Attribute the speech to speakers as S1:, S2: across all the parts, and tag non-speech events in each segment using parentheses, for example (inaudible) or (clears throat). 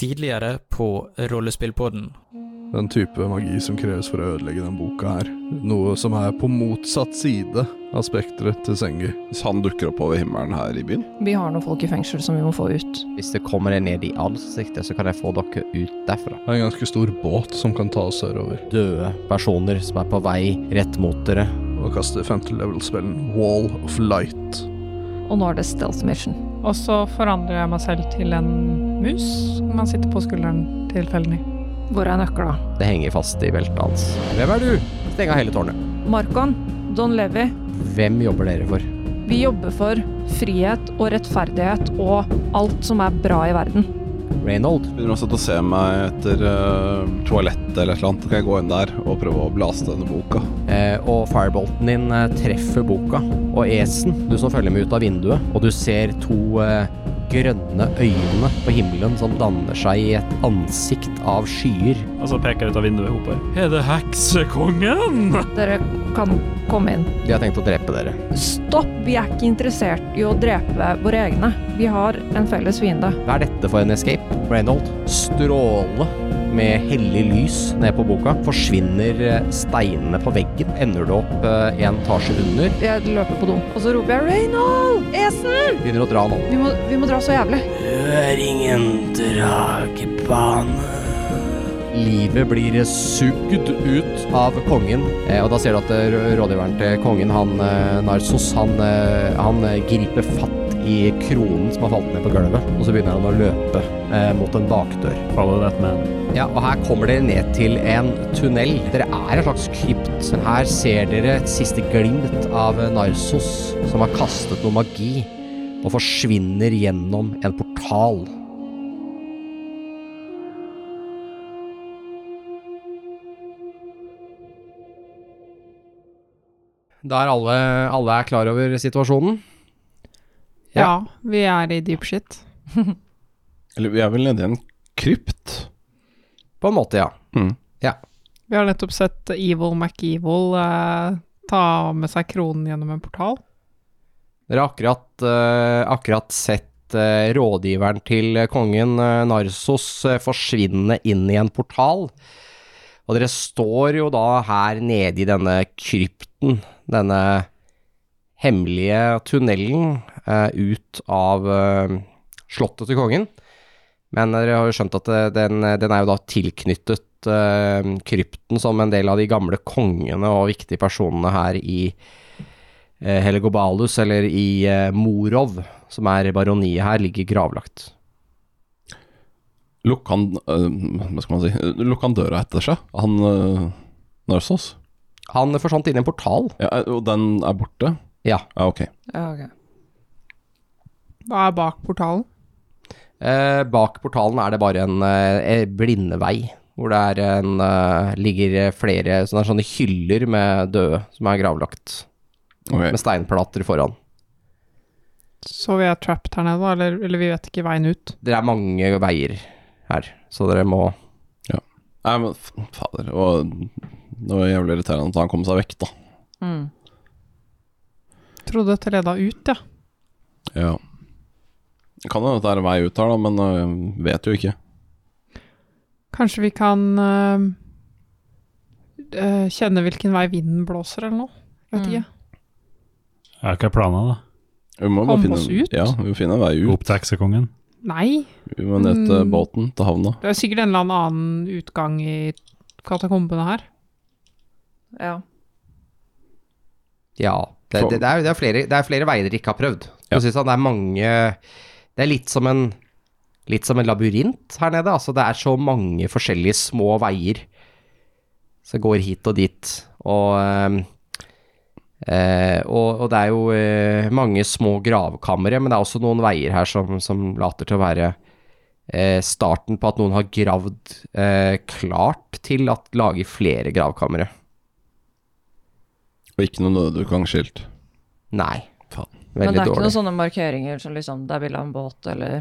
S1: tidligere på Rollespillpodden.
S2: Den type magi som kreves for å ødelegge den boka her. Noe som er på motsatt side av spekteret til Sengi.
S3: Hvis han dukker opp over himmelen her i byen
S4: Vi har noen folk i fengsel som vi må få ut.
S5: Hvis det kommer deg ned i ansiktet, så kan jeg få dere ut derfra.
S2: Det er en ganske stor båt som kan ta oss sørover.
S5: Døde personer som er på vei rett mot dere.
S2: Og kaste femte level-spellen Wall of Light.
S4: Og nå er det stealth mission.
S6: Og så forandrer jeg meg selv til en mus som man sitter på skulderen til Felny.
S4: Hvor er nøkla?
S5: Det henger fast i beltet hans. Hvem er du? Steng av hele tårnet.
S4: Markon, Don Levi,
S5: Hvem jobber dere for?
S4: vi jobber for frihet og rettferdighet og alt som er bra i verden.
S5: Reynold.
S3: Begynner også å se meg etter eh, toalettet eller et eller annet. Kan jeg gå inn der og prøve å blase denne boka?
S5: Eh, og firebolten din eh, treffer boka. Og Esen, du som følger med ut av vinduet, og du ser to eh, grønne øyne på himmelen som danner seg i et ansikt av skyer.
S7: Og så peker jeg ut av vinduet hoper. Er det heksekongen?
S4: Dere kan komme inn.
S5: De har tenkt å drepe dere.
S4: Stopp, vi er ikke interessert i å drepe våre egne. Vi har en felles fiende.
S5: Hva er dette for en escape? Reynold stråle med hellig lys ned på boka. Forsvinner eh, steinene på veggen. Ender du opp eh, en etasje under.
S4: Jeg løper på do, og så roper jeg 'Reynold! Esen!
S5: Begynner å dra nå.
S4: Vi må, vi må dra så jævlig'.
S5: Hør ingen dragebane. Livet blir sugd ut av kongen, eh, og da ser du at eh, rå- rådgiveren til kongen, han eh, Narsos, han, eh, han eh, griper fatt i kronen som har falt ned på gulvet, og så begynner han å løpe eh, mot en bakdør.
S7: Follow that man.
S5: Ja, og her kommer dere ned til en tunnel. Dere er en slags krypt. Her ser dere et siste glimt av Narsos, som har kastet noe magi, og forsvinner gjennom en portal. Da er alle, alle er klar over situasjonen.
S6: Ja.
S5: Ja.
S6: vi er i deep shit.
S3: Eller vi er vel nede i en krypt?
S5: På en måte, ja.
S6: Vi har nettopp sett Evil McEvil eh, ta med seg kronen gjennom en portal.
S5: Dere har akkurat, eh, akkurat sett eh, rådgiveren til kongen eh, Narsos eh, forsvinne inn i en portal. Og dere står jo da her nede i denne krypten, denne hemmelige tunnelen eh, ut av eh, slottet til kongen. Men dere har jo skjønt at eh, den, den er jo da tilknyttet eh, krypten som en del av de gamle kongene og viktige personene her i eh, Helegobalus, eller i eh, Morov, som er baroniet her, ligger gravlagt.
S3: Lukker han eh, Hva skal man si? Lukker han døra etter seg? Han uh, Narsos?
S5: Han forsvant inn i en portal.
S3: Ja, eh, og den er borte?
S5: Ja.
S3: Ja, ok.
S6: Hva er bak portalen?
S5: Eh, bak portalen er det bare en eh, blindevei, hvor det er en, eh, ligger flere sånne, sånne hyller med døde som er gravlagt,
S3: Ok.
S5: med steinplater foran.
S6: Så vi er trapped her nede, da, eller, eller vi vet ikke veien ut.
S5: Det er mange veier her, så dere må
S3: Nei, men f- fader. Og det var jævlig irriterende at han kom seg vekk, da.
S6: Trodde dette leda ut, ja.
S3: Ja. Det Kan hende at det er en vei ut her, da, men øh, vet jo ikke.
S6: Kanskje vi kan eh, eh, kjenne hvilken vei vinden blåser, eller noe? Jeg Vet ikke.
S7: Jeg har ikke planer, da.
S3: Vi må
S6: Komme
S3: bare finne,
S6: oss ut?
S3: Ja, vi må finne en vei ut.
S7: Opp til heksekongen.
S6: Nei,
S3: Vi må ned til
S6: Mm.
S3: båten, til havna.
S6: det er sikkert en eller annen utgang i katakombene her.
S4: Ja.
S5: Ja. Det,
S3: For-
S5: det, det, er, det, er flere, det er flere veier dere ikke har prøvd.
S3: Ja.
S5: Jeg synes at sånn, det er mange Det er litt som en Litt som en labyrint her nede. Altså, det er så mange forskjellige små veier som går hit og dit. Og, ehm, eh, og, og det er jo eh, mange små gravkamre, men det er også noen veier her som, som later til å være eh, starten på at noen har gravd eh, klart til at lager flere gravkamre.
S3: Og ikke noe nødutgangsskilt.
S5: Nei.
S3: Faen.
S4: Men det
S5: Veldig
S4: er ikke
S5: dårlig.
S4: noen sånne markeringer som liksom Det er bilde av en båt eller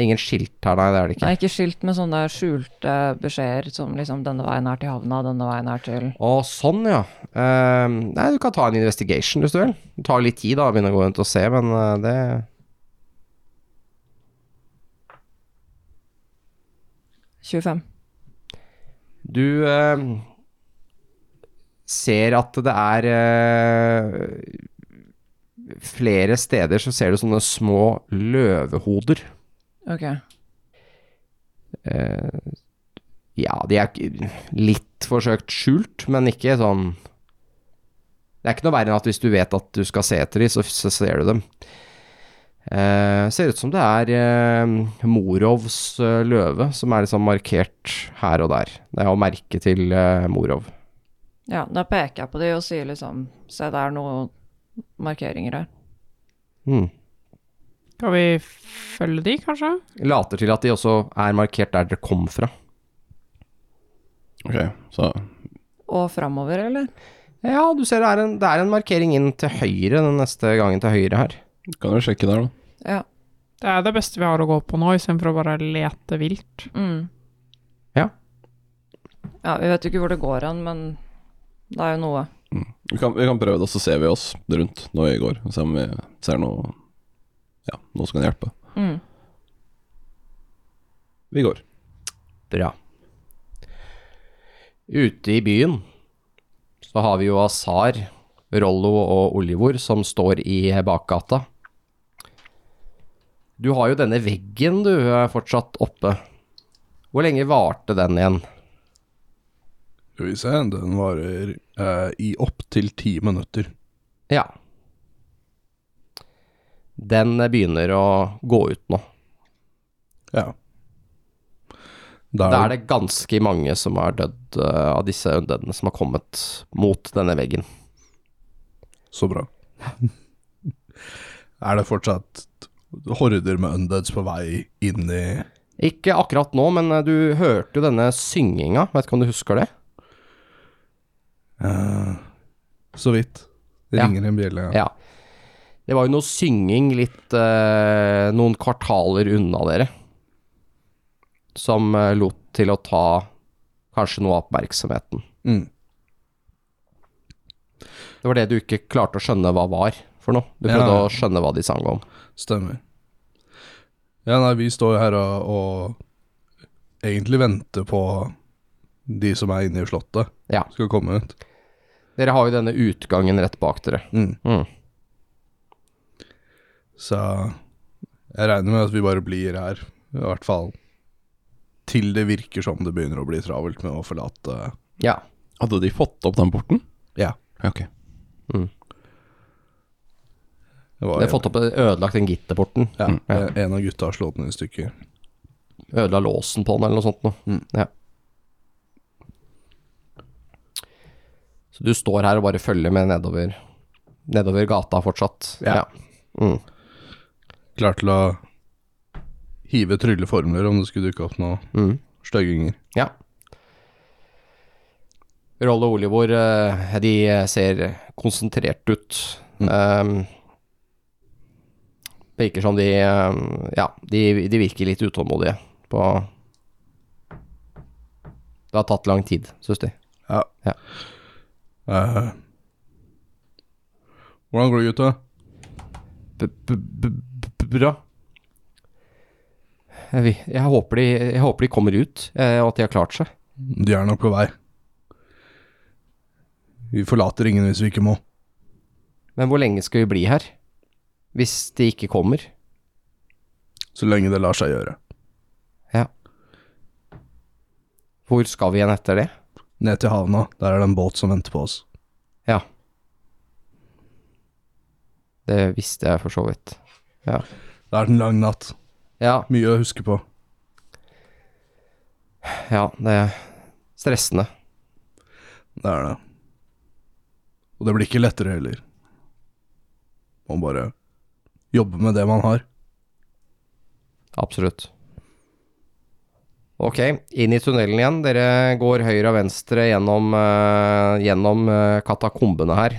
S5: Ingen skilt her, nei, det er det
S4: Det
S5: ikke.
S4: er ikke skilt med sånne skjulte beskjeder som liksom 'Denne veien er til havna, denne veien er til
S5: Å, sånn, ja. Ehm, nei, du kan ta en investigation hvis du vil. Det tar litt tid da, å begynne å gå rundt og se, men eh, det
S4: 25.
S5: Du eh, ser at det er eh, Flere steder så ser du sånne små løvehoder.
S4: Ok.
S5: Eh, ja, de er ikke- litt forsøkt skjult, men ikke sånn Det er ikke noe verre enn at hvis du vet at du skal se etter dem, så, så ser du dem. Eh, ser ut som det er eh, Morovs eh, løve, som er liksom markert her og der. Det er jo merket til eh, Morov.
S4: Ja, da peker jeg på de og sier liksom Se, det er noen markeringer her.
S5: Mm.
S6: Skal vi følge de, kanskje?
S5: Later til at de også er markert der dere kom fra.
S3: Ok, så
S4: Og framover, eller?
S5: Ja, du ser det er en, det er en markering inn til høyre den neste gangen til høyre her.
S3: kan du sjekke der, da.
S4: Ja.
S6: Det er det beste vi har å gå på nå, istedenfor å bare lete vilt.
S4: Mm.
S5: Ja.
S4: Ja, vi vet jo ikke hvor det går hen, men det er jo noe.
S3: Vi kan, vi kan prøve det, og så ser vi oss rundt nå i går. og Se om vi ser noe Ja, noe som kan hjelpe.
S4: Mm.
S3: Vi går.
S5: Bra. Ute i byen så har vi jo Azar, Rollo og Olivor som står i bakgata. Du har jo denne veggen du eh, fortsatt oppe. Hvor lenge varte den igjen?
S2: Skal vi se, den varer eh, i opptil ti minutter.
S5: Ja. Den eh, begynner å gå ut nå.
S2: Ja. Der,
S5: Da er det ganske mange som har dødd eh, av disse undeadene som har kommet mot denne veggen.
S2: Så bra. (laughs) er det fortsatt horder med undeads på vei inn i
S5: Ikke akkurat nå, men eh, du hørte jo denne synginga, vet ikke om du husker det?
S2: eh, Så vidt. Det
S5: Ja.
S2: ringer en bjelle.
S5: Ja. Det var jo noe synging litt eh, noen kvartaler unna dere, som eh, lot til å ta kanskje noe av oppmerksomheten.
S2: Mm.
S5: Det var det du ikke klarte å skjønne hva var for noe. Du prøvde
S2: Ja.
S5: å skjønne hva de sang om.
S2: Stemmer. Ja, nei, vi står jo her og, og egentlig venter på de som er inne i slottet,
S5: Ja.
S2: skal komme ut.
S5: Dere har jo denne utgangen rett bak dere.
S2: Mm.
S5: Mm.
S2: Så jeg regner med at vi bare blir her, i hvert fall til det virker som det begynner å bli travelt med å forlate
S5: Ja.
S3: Hadde de fått opp den porten?
S2: Ja.
S3: Ok.
S5: Dere har fått Mm, opp eh, ødelagt den gitterporten.
S2: ja, En av gutta har slått den i stykker.
S5: Ødela låsen på den eller noe sånt noe.
S2: Mm.
S5: Ja. Så du står her og bare følger med nedover, nedover gata fortsatt.
S2: Ja.
S5: Mm.
S2: Klar til å hive trylleformler om det skulle dukke opp noen
S5: Mm.
S2: stygginger.
S5: ja. Rolle og Olivor, eh, de ser konsentrert ut.
S2: Mm.
S5: Um, virker som de eh, Ja, de, de virker litt utålmodige på Det har tatt lang tid, syns de.
S2: Ja.
S5: Ja.
S2: Eh, hvordan går det, gutta?
S5: b b b b- bra. Jeg, vil- jeg, håper de, jeg håper de kommer ut, eh, og at de har klart seg.
S2: De er nok på vei. Vi forlater ingen hvis vi ikke må.
S5: Men hvor lenge skal vi bli her? Hvis de ikke kommer?
S2: Så lenge det lar seg gjøre.
S5: Hvor skal vi igjen etter det?
S2: Ned til havna, der er det en båt som venter på oss.
S5: Ja. Det visste jeg for så vidt.
S2: Det er en lang natt.
S5: Ja,
S2: Mye å huske på.
S5: ja, det er stressende.
S2: Det er det. Og det blir ikke lettere heller. Man bare jobber med det man har.
S5: Absolutt. Ok, inn i tunnelen igjen. Dere går høyre og venstre gjennom, eh, gjennom eh, katakombene her.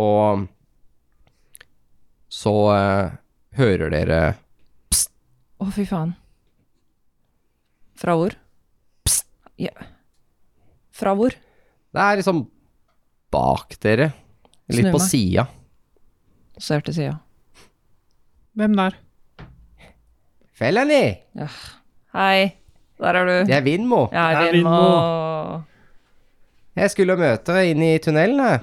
S5: Og så eh, hører dere
S4: Å, fy faen. Fra hvor? Psst. Ja. Fra hvor?
S5: Det er liksom bak dere. Litt
S4: Snu
S5: på
S4: meg.
S5: sida.
S4: Ser til sida.
S6: Hvem der?
S5: Fellany!
S4: Hei. Der er du.
S5: Jeg vinner, Mo.
S4: (laughs) Ja,
S7: Jeg
S4: Rimo.
S5: Jeg skulle møte deg inn i tunnelen, jeg.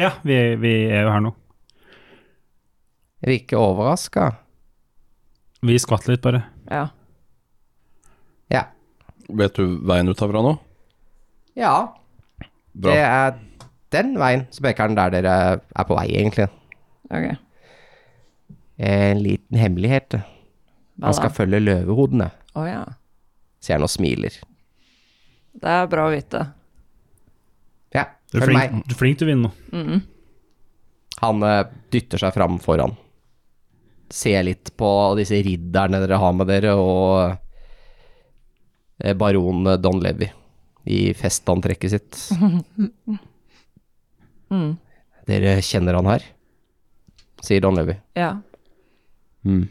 S7: Ja, vi, vi er jo her nå.
S5: Jeg blir ikke overraska.
S7: Vi skvatt litt, bare.
S4: Ja.
S5: Ja.
S3: Vet du veien ut herfra nå?
S5: ja.
S3: Bra.
S5: Det er den veien som peker den der dere er på vei, egentlig.
S4: Ok.
S5: Eh, En liten hemmelighet.
S4: Hva
S5: Man skal
S4: da?
S5: følge løvehodene,
S4: Å ja.
S5: sier han og smiler.
S4: Det er bra å vite.
S5: Ja,
S7: Du er
S5: følg meg.
S7: flink, du, er flink til å vinne nå.
S5: Han eh, dytter seg fram foran. Ser litt på disse ridderne dere har med dere, og eh, baron Don Levy i festantrekket
S4: (laughs)
S5: sitt.
S4: Mm.
S5: Dere kjenner han her, sier Don Levy.
S4: Ja.
S7: Mm.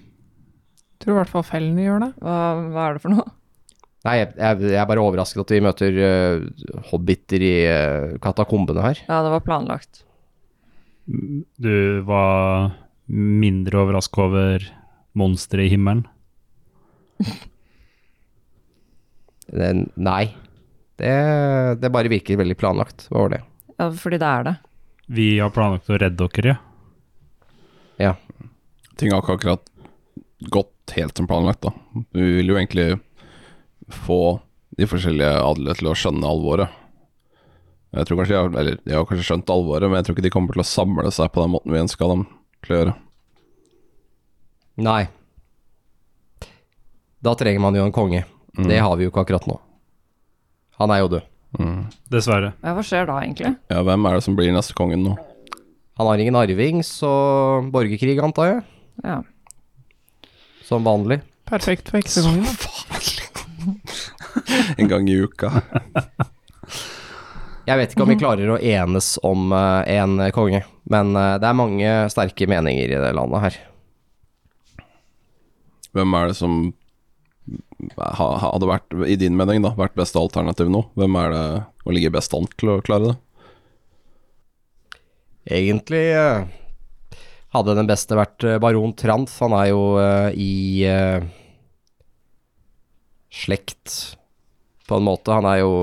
S6: Tror i hvert fall fellene gjør det.
S4: Hva, hva er det for noe?
S5: Nei, jeg, jeg, jeg er bare overrasket at vi møter eh, hobbiter i eh, katakombene her.
S4: Ja, det var planlagt.
S7: Du var mindre overrasket over monsteret i himmelen.
S5: Eh, Nei, det, det bare virker veldig planlagt. Hva var det?
S4: Ja, fordi det er det.
S7: Vi har planlagt å redde dere, ja.
S5: Ja.
S3: Ting har ikke akkurat gått helt som planlagt, da. Vi vil jo egentlig få de forskjellige adelige til å skjønne alvoret. Jeg tror kanskje de har, eller de har kanskje skjønt alvoret, men jeg tror ikke de kommer til å samle seg på den måten vi ønska dem til å gjøre.
S5: Nei. Da trenger man jo en konge. Det har vi jo ikke akkurat nå. Han er jo død.
S7: Dessverre.
S4: Ja, hva skjer da, egentlig?
S3: Ja, hvem er det som blir neste kongen nå?
S5: Han har ingen arving, så borgerkrig, antar jeg.
S4: Ja.
S5: Som vanlig.
S6: Perfekt for heksekongen. da.
S3: En gang i uka.
S5: Jeg vet ikke om vi klarer å enes om eh, en konge, men eh, det er mange sterke meninger i det landet her.
S3: Hvem er det som ha, hadde vært, i din mening, da, vært beste alternativ nå? Hvem er det som ligger best an til å klare det?
S5: Egentlig eh, hadde den beste vært eh, baron Trant. Han er jo eh, i eh, slekt, på en måte. Han er jo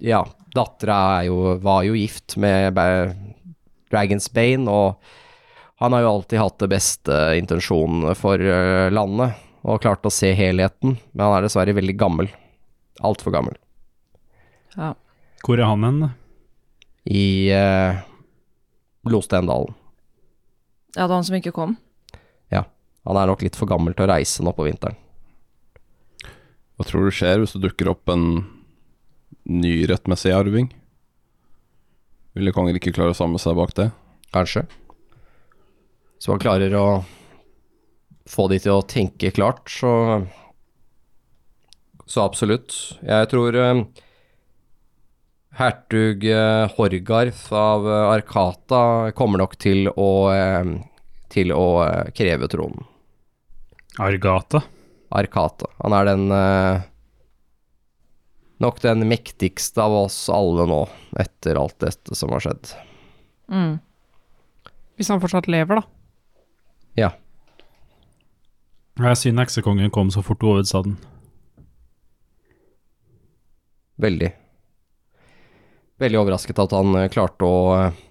S5: Ja, dattera er jo, var jo gift med Ba- Dragons Bane, og han har jo alltid hatt det beste intensjonen for eh, landet, og klart å se helheten, men han er dessverre veldig gammel. Altfor gammel.
S4: ja.
S7: Hvor er han hen? da?
S5: I eh, Lostendalen.
S4: Ja, det var han som ikke kom.
S5: Ja, han er nok litt for gammel til å reise nå på vinteren.
S3: Hva tror du skjer hvis det dukker opp en ny rettmessig arving? Ville kongen ikke klare å samle seg bak det?
S5: Kanskje. Så han klarer å få de til å tenke klart, så Så absolutt. Jeg tror eh, hertug eh, Horgarth av eh, Arkata kommer nok til å eh, til å eh, kreve tronen.
S7: Argata.
S5: Arkata. Han er den eh, nok den mektigste av oss alle nå, etter alt dette som har skjedd.
S4: Mm.
S6: Hvis han fortsatt lever, da.
S5: Ja.
S7: Jeg synd heksekongen kom så fort til hovedstaden.
S5: Veldig. Veldig overrasket at han eh, klarte å eh,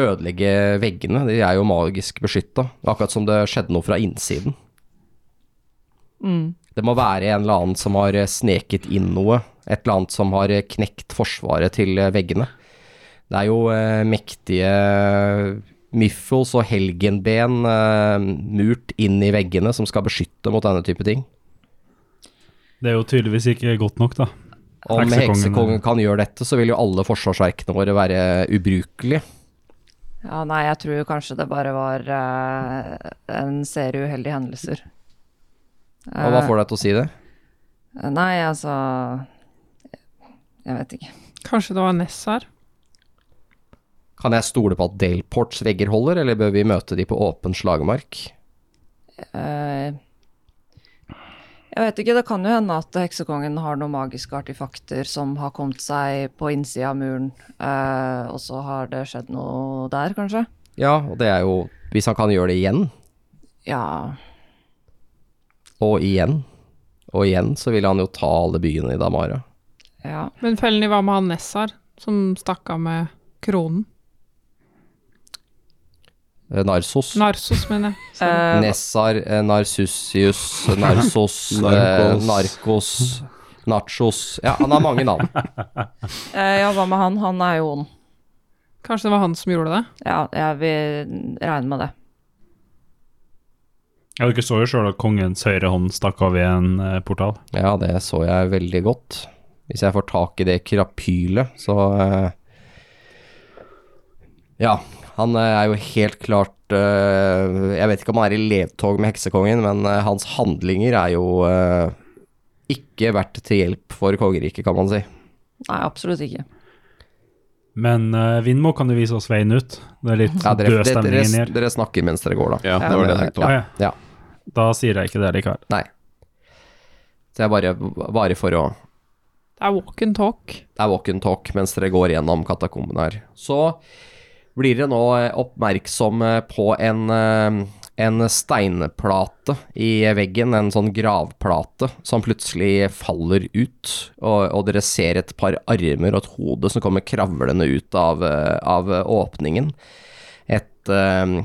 S5: ødelegge veggene. De er jo magisk beskytta, akkurat som det skjedde noe fra innsiden.
S4: Mm.
S5: Det må være en eller annen som har eh, sneket inn noe. Et eller annet som har eh, knekt forsvaret til eh, veggene. Det er jo eh, mektige eh, Miffels og helgenben eh, murt inn i veggene som skal beskytte mot denne type ting.
S7: Det er jo tydeligvis ikke godt nok, da.
S5: Om
S7: Heksekongen-
S5: heksekongen kan gjøre dette, så vil jo alle forsvarsverkene våre være ubrukelige.
S4: Ja, nei, jeg tror kanskje det bare var eh, en serie uheldige hendelser.
S5: Og hva får deg til å si det?
S4: Eh, Nei, altså Jeg vet ikke.
S6: Kanskje det var Ness her.
S5: Kan jeg stole på at Delports vegger holder, eller bør vi møte de på åpen slagmark?
S4: Eh, jeg vet ikke, det kan jo hende at heksekongen har noen magiske artefakter som har kommet seg på innsida av muren, eh, og så har det skjedd noe der, kanskje?
S5: Ja, og det er jo Hvis han kan gjøre det igjen?
S4: Ja
S5: Og igjen. Og igjen så ville han jo ta alle byene i Damara.
S4: Ja.
S6: Men fellen i hva med han Nessar, som stakk av med kronen?
S5: Eh, Narsos.
S6: Narsos, mener jeg. Sorry.
S4: (laughs) Eh,
S5: Nessar, eh, Narsusius, Narsos, eh,
S3: Narkos.
S5: Narkos, Nachos Ja, han har mange navn.
S4: eh, ja, hva med han? Han er jo ond.
S6: Kanskje det var han som gjorde det?
S4: Ja, jeg vil regne med det.
S7: Ja, Dere så jo sjøl at kongens høyre hånd stakk av i en eh, portal.
S5: Ja, det så jeg veldig godt. Hvis jeg får tak i det krapylet, så eh, Ja, han eh, er jo helt klart eh, Jeg vet ikke om han er i ledtog med heksekongen, men eh, hans handlinger er jo eh, ikke vært til hjelp for kongeriket, kan man si.
S4: Nei, absolutt ikke.
S7: Men eh, Vindmo kan jo vise oss veien ut. Det er litt
S5: Ja, dere,
S7: død
S5: dere,
S7: stemning inni
S5: dere,
S7: her.
S5: dere snakker mens dere går, da.
S3: Ja, det var det jeg tenkte
S7: Ja,
S3: på.
S7: ja.
S5: Ja.
S7: Da sier jeg ikke det likevel.
S5: Nei. Så jeg bare, bare for å
S6: Det er walk and talk.
S5: Det er walk and talk mens dere går gjennom katakomben her. Så blir dere nå eh, oppmerksomme på en, eh, en steinplate i veggen, en sånn gravplate, som plutselig faller ut. Og, og dere ser et par armer og et hode som kommer kravlende ut av, eh, av åpningen. Et eh,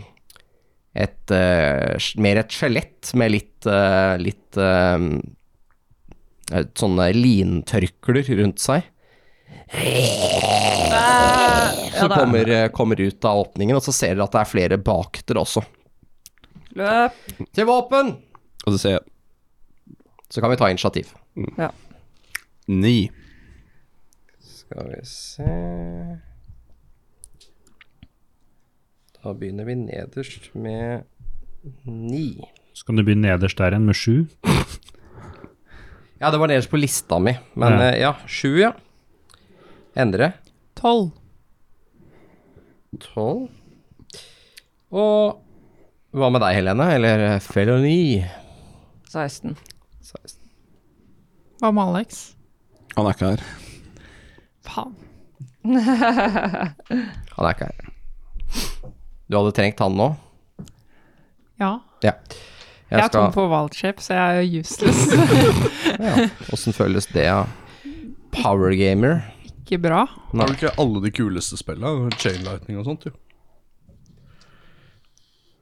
S5: et, eh, mer et skjelett med litt, eh, litt eh, sånne lintørklær rundt seg.
S4: Ja, det
S5: Så
S4: er-
S5: kommer, eh, kommer ut av åpningen, og så ser dere at det er flere bak dere også.
S4: Løp!
S5: Til våpen!
S3: Og så sier jeg
S5: Så kan vi ta initiativ.
S3: ni.
S5: Skal vi se Da begynner vi nederst med ni.
S7: Så kan du begynne nederst der igjen med sju.
S5: Ja, det var nederst på lista mi, men
S7: Ja.
S5: eh, ja. Sju, ja. Endre.
S6: Tolv.
S5: Tolv. Og hva med deg, Helene? Eller eh, feloni?
S4: 16.
S6: Hva med Alex?
S3: Han er ikke her.
S6: Faen.
S5: Han er ikke her. Du hadde trengt han nå?
S6: Ja.
S5: Ja.
S6: Jeg, er tom for valgskjep, så jeg er jo useless. (laughs)
S5: Åssen føles det, ja? Power gamer?
S6: Ikke bra.
S2: Har du ikke alle de kuleste spillene? Chain lightning og sånt, jo.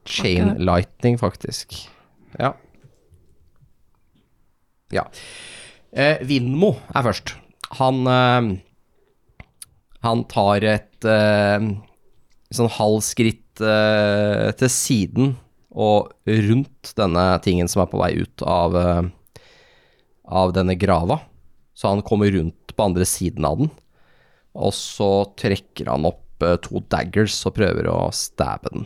S5: Chain lightning, faktisk. Ja. Ja. Eh, Vindmo er først. Han eh, Han tar et eh, sånn halvt skritt eh, til siden og rundt denne tingen som er på vei ut av eh, av denne grava. Så han kommer rundt på andre siden av den. Og så trekker han opp eh, to daggers og prøver å stabbe den.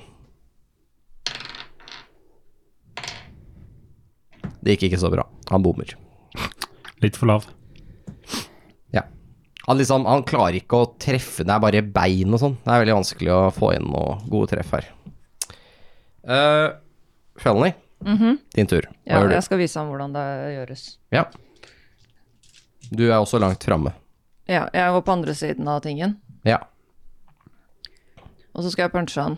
S5: Det gikk ikke så bra. Han bommer.
S7: Litt for lav.
S5: Ja. Han, liksom, han klarer ikke å treffe, det er bare bein og sånn. Det er veldig vanskelig å få inn noe gode treff her. Uh, Felony, din tur. Hva
S4: Mhm. Ja,
S5: gjør du?
S4: jeg skal vise ham hvordan det gjøres.
S5: Ja. Du er også langt framme.
S4: Ja, jeg går på andre siden av tingen,
S5: Ja.
S4: og så skal jeg punche han.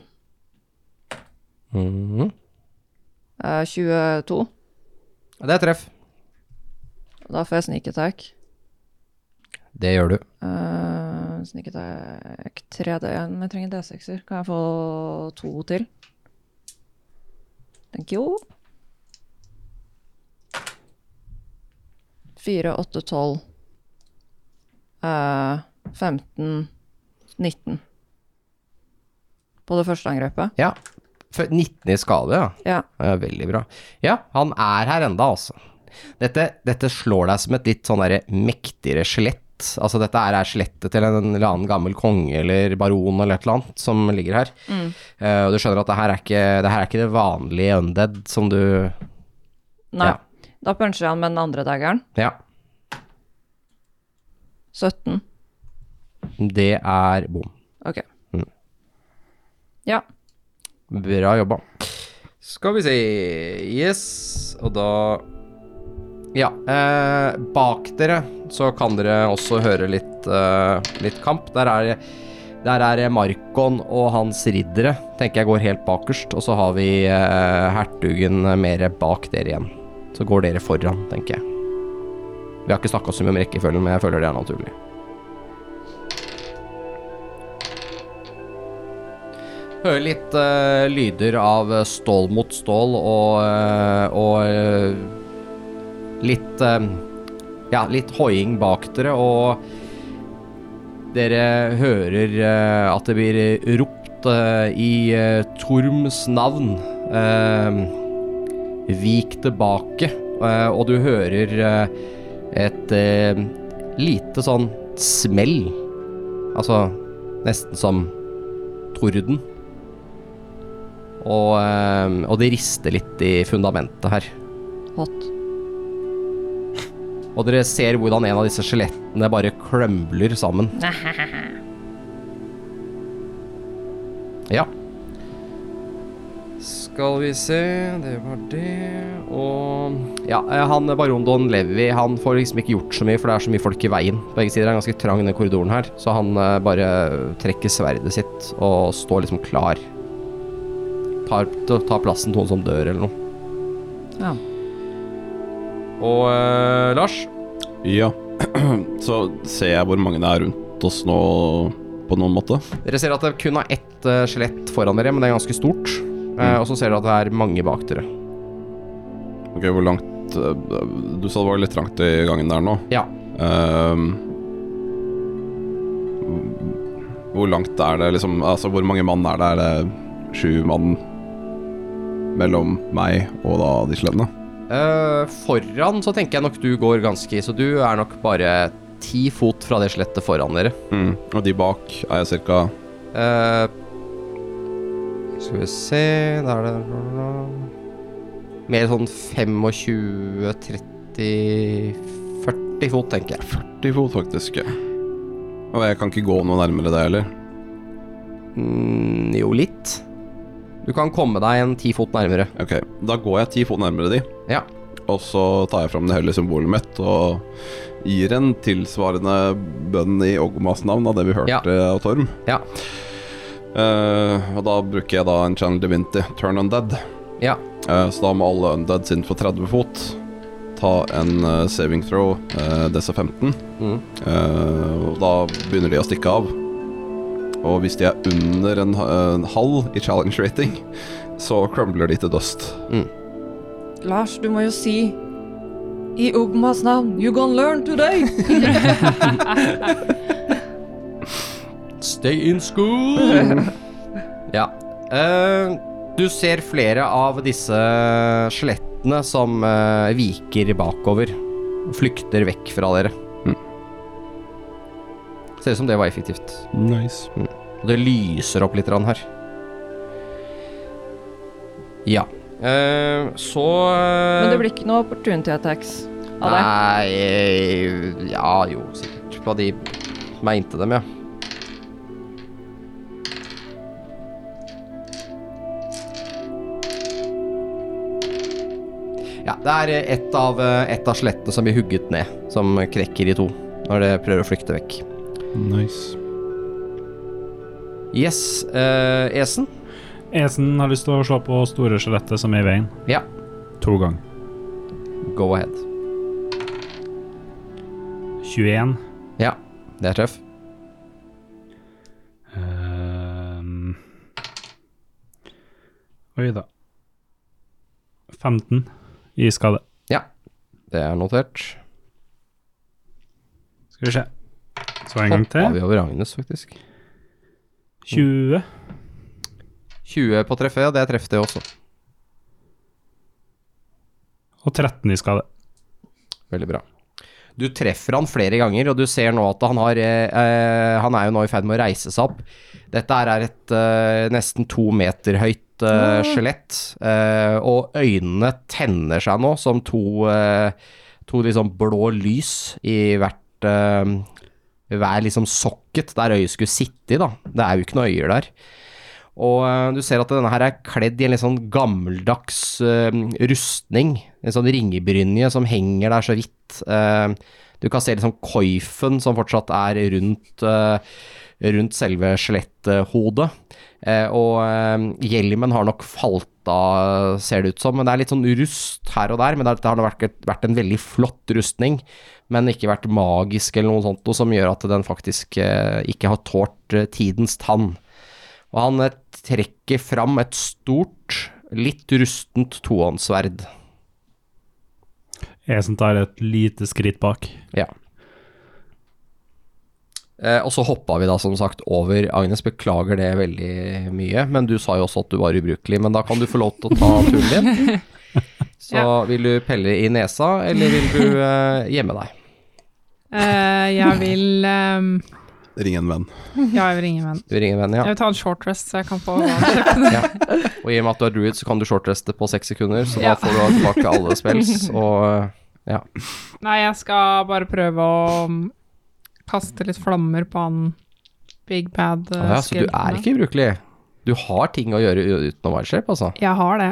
S5: Mhm.
S4: Eh, 22.
S5: Det er treff.
S4: Da får jeg sneak attack.
S5: Det gjør du.
S4: Uh, sneak attack 3D1, men jeg trenger D6-er. Kan jeg få to til? Thank you. 4, 8, 12 eh, 15 19 På det første angrepet.
S5: Ja. Fø- 19 i skade, ja.
S4: Ja.
S5: Ja, veldig bra. Ja, han er her enda, altså. Dette, dette slår deg som et litt sånn derre mektigere skjelett. Altså, dette er er skjelettet til en eller annen gammel konge eller baron eller et eller annet som ligger her. Eh, og du skjønner at det her er ikke det, her er ikke det vanlige undead som du
S4: Nei.
S5: Ja.
S4: Da puncher jeg han med den andre daggeren.
S5: Ja.
S4: 17.
S5: Det er bom.
S4: Ok.
S5: Mm.
S4: Ja.
S5: Bra jobba. Skal vi se Yes, og da Ja. Eh, bak dere så kan dere også høre litt, eh, litt kamp. Der er, der er Markon og hans riddere. Tenker jeg går helt bakerst. Og så har vi eh, hertugen mer bak dere igjen. Så går dere foran, tenker jeg. Vi har ikke snakka så mye om rekkefølgen, men jeg føler det er naturlig. Hører litt eh, lyder av eh, stål mot stål og, eh, og eh, litt eh, Ja, litt hoiing bak dere, og dere hører eh, at det blir ropt eh, i eh, Torms navn. eh, vik tilbake, eh, og du hører eh, et eh, lite sånn smell. Altså nesten som torden. Og, eh, og det rister litt i fundamentet her.
S4: Hot.
S5: Og dere ser hvordan en av disse skjelettene bare klømbler sammen. (laughs) Ja. Skal vi se Det var det Og Ja, eh, han baron Don Levi Han får liksom ikke gjort så mye, for det er så mye folk i veien. På begge sider er det ganske trang denne korridoren her, så han eh, bare trekker sverdet sitt og står liksom klar. Tar, tar plassen til noen som dør, eller noe.
S4: Ja.
S5: Og eh, Lars?
S3: Ja. (clears throat) Så ser jeg hvor mange det er rundt oss nå, på noen måte.
S5: Dere ser at det kun er ett eh, skjelett foran dere, men det er ganske stort. Eh, og så ser dere at det er mange bak dere.
S3: Ok, hvor langt eh, Du sa det var litt trangt i gangen der nå.
S5: Ja.
S3: Ehm, hvor langt er det liksom Altså, hvor mange mann er det? Er det sju mann mellom meg og da de skjelettene?
S5: Eh, foran så tenker jeg nok du går ganske i, så du er nok bare ti fot fra det skjelettet foran dere.
S3: Mm. Og de bak er jeg ca.
S5: Eh, skal vi se Der er det Mer sånn 25-30-40 fot, tenker jeg.
S3: 40 fot, faktisk. ja. Og jeg kan ikke gå noe nærmere det heller.
S5: Mm, jo, litt. Du kan komme deg en ti fot nærmere.
S3: Ok, da går jeg ti fot nærmere de.
S5: Ja.
S3: Og så tar jeg fram det hellige symbolet mitt og gir en tilsvarende bønn i Ogmas navn av det vi hørte av Torm.
S5: Ja.
S3: Eh, og da bruker jeg da en channel divinity, turn undead.
S5: Ja.
S3: Eh, så da må alle undeads innenfor 30 fot ta en eh, saving throw, uh, DC15.
S5: Mm.
S3: Eh, og da begynner de å stikke av. Og hvis de er under en, en halv i challenge rating, så crumbler de til dust.
S4: Lars, du må jo si i Ugmas navn You gonna learn (laughs) today!
S5: Stay in school! ja. Eh, du ser flere av disse skjelettene som eh, viker bakover. Flykter vekk fra dere.
S3: Mm.
S5: Ser ut som det var effektivt.
S3: Nice.
S5: Og det lyser opp litt grann her. Ja. Eh, så eh,
S4: Men det blir ikke noe opportunity attacks av det.
S5: Nei eh, Ja, jo, sikkert. På de meinte dem, ja. Ja, det er eh, ett av, eh, ett av skjelettene som blir hugget ned, som krekker i to når det prøver å flykte vekk.
S3: Nice.
S5: Yes, eh, Esen.
S7: Esen har lyst til å slå på store skjelettet som er i veien.
S5: Ja.
S7: To ganger.
S5: Go ahead.
S7: 21.
S5: Ja, det er treff.
S7: Ehm. Oi da. 15 i skade.
S5: Ja, det er notert.
S7: Skal vi se. Så en gang
S5: Hoppa
S7: til.
S5: vi over Agnes, faktisk.
S7: 20.
S5: 20 på treffet, ja, det er treff, det også.
S7: Og 13 i skade.
S5: Veldig bra. Du treffer han flere ganger, og du ser nå at han har eh, eh, Han er jo nå i ferd med å reise seg opp. Dette her er et eh, nesten to meter høyt eh, skjelett, eh, og øynene tenner seg nå som to, eh, to liksom blå lys i hvert eh, hver liksom socket der øyet skulle sitte i, da. Det er jo ikke noe øyer der. Og eh, du ser at denne her er kledd i en litt sånn gammeldags eh, rustning. En sånn ringebrynje som henger der så sånn vidt. Eh, du kan se liksom koifen som fortsatt er rundt eh, rundt selve skjeletthodet. Eh, og eh, hjelmen har nok falt av, ser det ut som. Men det er litt sånn rust her og der. Men det er- det har nok vært, vært en veldig flott rustning, men ikke vært magisk eller noe sånt, og som gjør at den faktisk eh, ikke har tålt eh, tidens tann. Og han eh, trekker fram et stort, litt rustent tohåndssverd.
S7: Jeg som tar et lite skritt bak.
S5: Ja. Eh, og så hoppa vi da som sagt over Agnes. Beklager det veldig mye, men du sa jo også at du var ubrukelig. Men da kan du få lov til å ta turen din. Så
S6: Ja.
S5: vil du pelle i nesa, eller vil du eh, gjemme deg?
S6: Eh, jeg vil ehm,
S3: Ring en venn.
S6: Ja, jeg vil ringe en venn.
S5: Du ringer en venn, ja.
S6: Jeg vil ta en short rest, så jeg kan få
S5: ja. Og i og med at du er druid, så kan du shortreste på seks sekunder, så da får du tilbake alle spells. Og eh, ja.
S6: (laughs) Nei, jeg skal bare prøve å mm, kaste litt flammer på han Big Bad eh,
S5: Ah, ja, så du er
S6: skelten der.
S5: ikke ubrukelig. Du har ting å gjøre u- uten å være shape, altså.
S6: Jeg har det.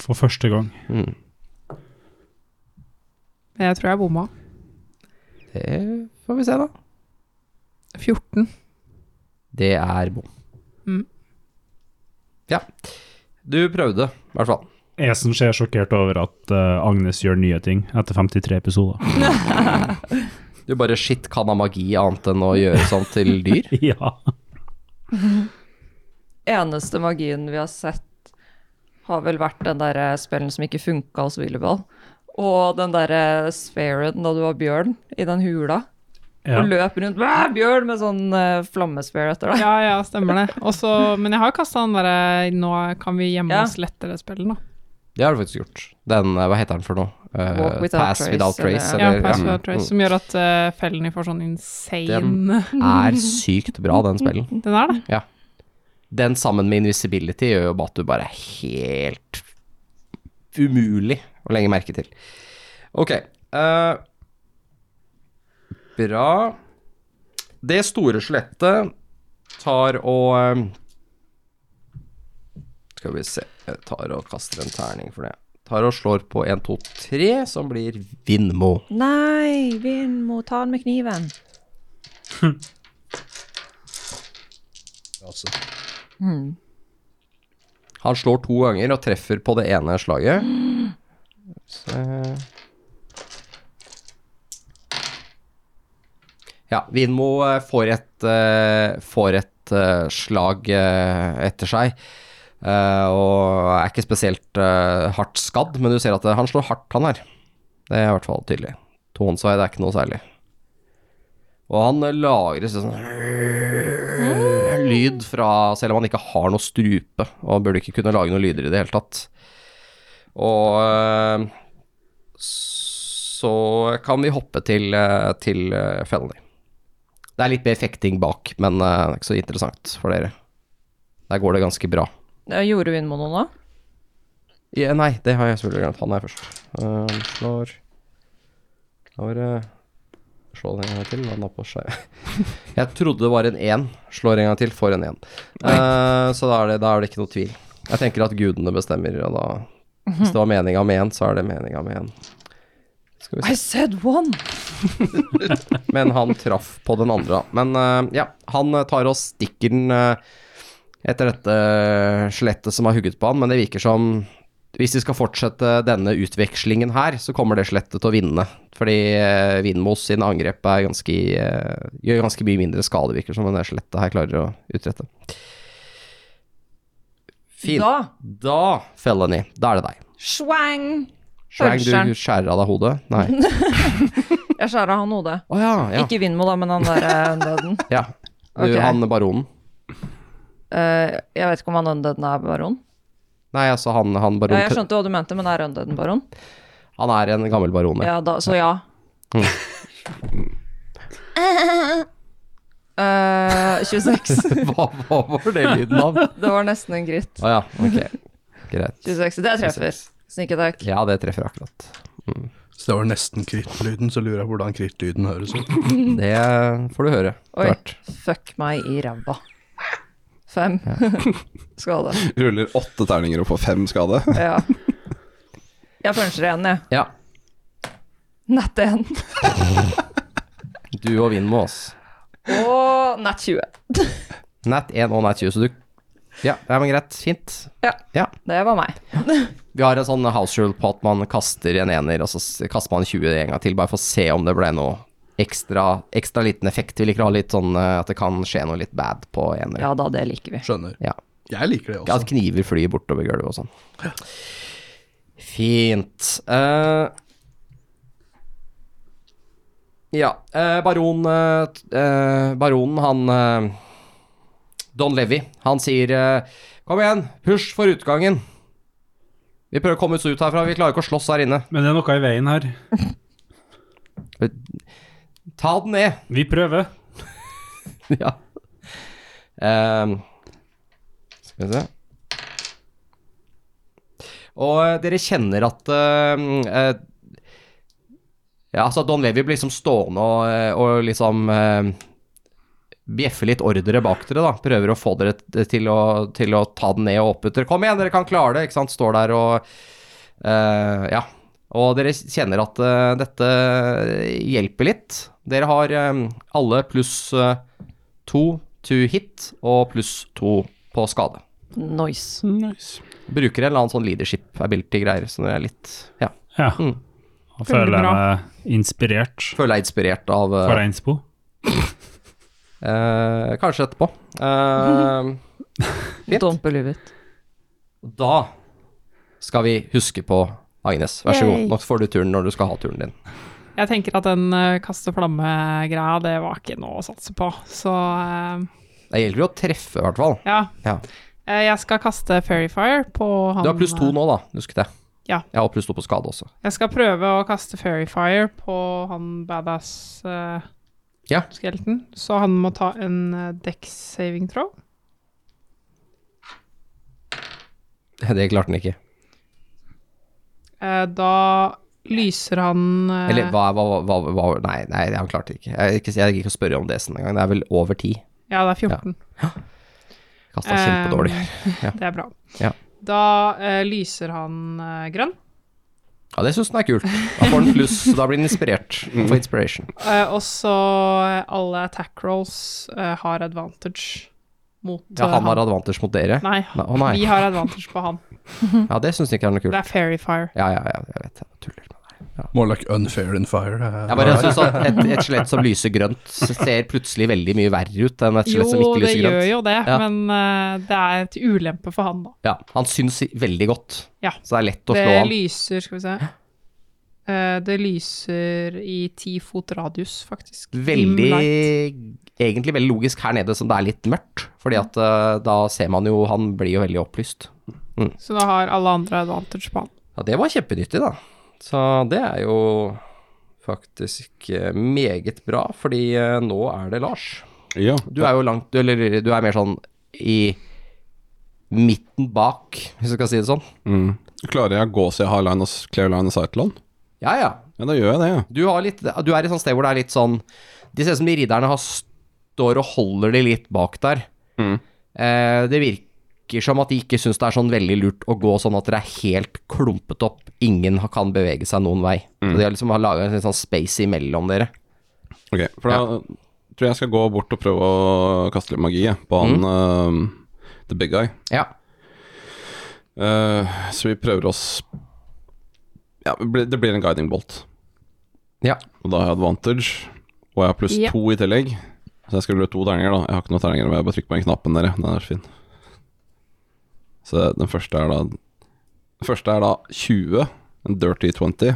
S7: For første gang.
S5: Mm.
S6: Men jeg tror jeg bomma.
S5: Det får vi se, da.
S6: 14.
S5: Det er bom.
S6: Mm.
S5: Ja. Du prøvde, i hvert fall.
S7: Jeg som ser sjokkert over at eh, Agnes gjør nye ting etter 53 episoder.
S5: Du bare shit, kan ha magi annet enn å
S6: (laughs)
S5: gjøre sånt til dyr?
S7: (laughs) ja.
S4: Eneste magien vi har sett, har vel vært den derre spellen som ikke funka hos Willeball. Og den derre spheren da du var bjørn, i den hula.
S7: ja.
S4: Og løp rundt «Bæ, bjørn med sånn uh, flammesphere etter deg.
S6: Ja, ja, stemmer det. Også, men jeg har kasta den derre Nå kan vi gjemme
S4: Ja.
S6: oss lettere spillen, da.
S5: Det har du faktisk gjort. Den, eh, hva heter den for noe? Eh,
S4: Walk without
S5: pass
S4: trace,
S5: without trace,
S4: eller-
S6: Ja,
S5: eller,
S6: Pass
S5: ja.
S6: Without Trace, som gjør at eh, fellene får sånn insane
S5: Den- Er sykt bra, den spillen.
S6: (laughs) Den er det.
S5: Den sammen med invisibility gjør jo bare at du bare er helt umulig å legge merke til. Ok. eh, bra. Det store skjelettet tar og eh, Skal vi se Jeg tar og kaster en terning for det. Tar og slår på 1, 2, 3, som blir Vindmo.
S4: Nei, Vinn må ta den med kniven.
S5: Han slår to ganger og treffer på det ene slaget. Så... Ja, Vinmo eh, får et, eh, får et eh, slag eh, etter seg. eh, og er ikke spesielt eh, hardt skadd, men du ser at eh, han slår hardt, han her. Det er i hvert fall tydelig. Tohåndsveid er ikke noe særlig. Og han eh, lagrer sånn Eh, lyd fra Selv om han ikke har noe strupe, og han burde ikke kunne lage noen lyder i det hele tatt. Og eh, så kan vi hoppe til, eh, til eh, Fenley. Det er litt mer fekting bak, men eh, det er ikke så interessant for dere. Der går det ganske bra.
S4: Ja, Gjorde Vinn må noe nå?
S5: Ja, nei, det har jeg selvfølgelig glemt. Han er først. Uh, slår Slår uh, Slå den en gang til. Han har på seg (laughs) Jeg trodde det var en én. Slår en gang til, får en én. Eh, så da er, det, da er det ikke noe tvil. Jeg tenker at gudene bestemmer, og da Hvis det var meninga med én, så er det meninga med én. Skal vi se.
S4: I said one!
S5: Men han traff på den andre, da. Men eh, ja, han eh, tar og stikker den eh, etter dette eh, skjelettet som har hugget på han, men det virker som hvis vi skal fortsette denne utvekslingen her, så kommer det skjelettet til å vinne. Fordi uh, Vindmos sine angrep er ganske, eh, gjør ganske mye mindre skade, virker det som, enn det skjelettet her klarer å utrette. Fint. Da,
S4: Da,
S5: Felony, da er det deg.
S4: swang!
S5: Shrang,
S4: Puncheren.
S5: du skjærer av deg hodet? Nei.
S4: (laughs)
S5: Å
S4: Jeg skjæra han hodet.
S5: ja, ja.
S4: Ikke Vinn må da, men han der eh, undeaden.
S5: ja. Du,
S4: Ok.
S5: Han baronen.
S4: Eh, jeg vet ikke om han undeaden er baron.
S5: Nei, altså han, han
S4: Ja,
S5: baron
S4: jeg skjønte hva du mente, men er undeaden baron?
S5: Han er en gammel baron,
S4: Ja,
S5: ja.
S4: da, så ja.
S5: Mm.
S4: Eh,
S5: (laughs)
S4: 26.
S5: (laughs) Hva, hva var det lyden
S4: (laughs)
S5: av? Å
S4: Det var nesten en gritt.
S5: ja, ok. Greit.
S4: 26. Det treffer. Sneak attack.
S5: Ja, det treffer akkurat.
S2: Så det var nesten krittlyden, så lurer jeg på hvordan krittlyden høres ut.
S5: Det får du høre
S4: Mm. Oi.
S5: etter hvert.
S4: Fuck meg i ræva. Fem (laughs) skade.
S3: (laughs) Ruller åtte terninger og får fem skade.
S4: Ja. Jeg puncher igjen, jeg.
S5: Ja,
S4: Nett igjen.
S5: du og Vindmo, ass.
S4: Og nat 20.
S5: Nat 1 og Nat 20, så du Ja, ja men greit. Fint.
S4: Det var meg.
S5: Vi har en sånn house rule på at man kaster en ener, og så s- kaster man 20 en gang til, bare for å se om det ble noe ekstra, ekstra liten effekt. Vi liker å ha litt sånn eh, at det kan skje noe litt bad på enere.
S4: Ja da, det liker vi.
S2: Skjønner.
S5: Ja.
S2: Jeg liker det
S5: At
S2: også.
S5: kniver flyr bortover gulvet og sånn. Fint. Eh, ja, eh, baron eh, t- eh, Baronen, han eh, Don Levi, han sier eh, Kom igjen, push for utgangen. Vi prøver å komme oss ut herfra, vi klarer ikke å slåss her inne.
S7: Men det er noe i veien her.
S5: Ta den ned.
S7: Vi prøver.
S5: (laughs) ja. Ehm, skal vi se. Og eh, dere kjenner at ehm, eh, ja, altså Don Levi blir liksom stående og, eh, og liksom eh, bjeffe litt ordre bak dere, da. Prøver å få dere t- til å, til å ta den ned og opp etter. Kom igjen, dere kan klare det! Ikke sant. Står der og eh, Ja. Og dere kjenner at eh, dette hjelper litt. Dere har eh, alle pluss eh, to to hit og pluss to på skade.
S4: Nice.
S7: Nice.
S5: Bruker en eller annen sånn leadership ability-greier, så dere er litt Ja.
S7: Ja.
S5: Mm.
S7: Da føler
S6: Veldig
S7: jeg
S6: bra.
S7: meg inspirert
S5: Føler jeg inspirert av eh,
S7: for Einsbo.
S5: eh, Kanskje etterpå. Eh, Fint.
S4: Don't believe it.
S5: Da skal vi huske på Agnes. Vær så god.
S6: Yay.
S5: Nå får du turen når du skal ha turen din.
S6: Jeg tenker at den eh, kaste flamme-greia, det var ikke noe å satse på. Så eh,
S5: Det gjelder jo å treffe, i hvert fall.
S6: ja.
S5: Ja.
S6: Eh, Jeg skal kaste Fairy Fire på han
S5: Du har pluss to nå, da. Husk det.
S6: Ja.
S5: Jeg har pluss to på skade også. (laughs)
S6: Jeg skal prøve å kaste Fairy Fire på han badass eh,
S5: Ja.
S6: skelten. Så han må ta en eh, dex saving throw.
S5: Det klarte den ikke.
S6: Eh, da lyser han eh,
S5: Eller hva, hva, hva, hva Nei, nei, han klarte det ikke. Jeg gikk ikke, jeg gikk ikke å spørre om DC-en engang. Det er vel over 10.
S6: Ja, det er 14.
S5: Kasta
S6: Eh,
S5: kjempedårlig. Ja.
S6: Det er bra.
S5: Ja.
S6: Da eh, lyser han eh, grønn.
S5: Ja, det syns den er kult. Da får den pluss, så da blir den inspirert.
S6: Mm.
S5: For inspiration.
S6: Eh, og så eh, alle attack rolls eh, har advantage mot
S5: Ja,
S6: eh,
S5: han har advantage mot dere.
S6: Nei,
S5: Å nei.
S6: vi har advantage på han.
S5: Ja, det syns den ikke er noe
S6: Det
S5: kult.
S6: er fairy fire.
S5: Ja, ja, ja, jeg vet. Jeg tuller.
S2: More like unfair than fire. eh.
S5: Jeg bare sånn synes at et, et skjelett som lyser grønt, ser plutselig veldig mye verre ut enn et
S6: Jo,
S5: skjelett som ikke
S6: det
S5: lyser
S6: gjør
S5: grønt.
S6: jo det,
S5: Ja.
S6: men eh, det er til ulempe for han, da.
S5: Ja, han syns i- veldig godt,
S6: Ja.
S5: så det er lett å
S6: Det
S5: slå han.
S6: lyser, skal vi se Eh, Det lyser i ti fot radius, faktisk.
S5: Veldig
S6: Dim light.
S5: Egentlig veldig logisk her nede som det er litt mørkt, fordi at eh, da ser man jo Han blir jo veldig opplyst. Mm.
S6: Så da har alle andre advantage på han.
S5: Ja, det var kjempenyttig, da. Så det er jo faktisk eh, meget bra, fordi eh, nå er det Lars.
S3: Ja.
S5: Du er jo langt du- Eller du er mer sånn i midten bak, hvis du skal si det sånn.
S3: Mm. Klarer jeg å gå så jeg har line of, clear line of sight til han?
S5: Ja, ja.
S3: Ja, da gjør jeg det, ja.
S5: Du, har litt, du er i sånn sted hvor det er litt sånn De ser ut som de ridderne har, står og holder de litt bak der.
S3: Mm.
S5: Eh, det virker som at de ikke syns det er sånn veldig lurt å gå sånn at dere er helt klumpet opp. Ingen har- kan bevege seg noen vei.
S3: Mm.
S5: Så de har liksom laga en sånn space imellom dere.
S3: Ok, for da tror jeg jeg skal gå bort og prøve å kaste litt magi jeg, på han eh, the big guy.
S5: Ja.
S3: Eh, så vi prøver oss Ja, det blir- det blir en guiding bolt.
S5: ja.
S3: Og da har jeg advantage, og jeg har pluss
S6: Ja.
S3: to i tillegg. Så jeg skal rulle to terninger, da. Jeg har ikke noen terninger, men jeg bare trykker på den knappen der. Den er fin. Så den første er da Den første er da 20, en dirty 20,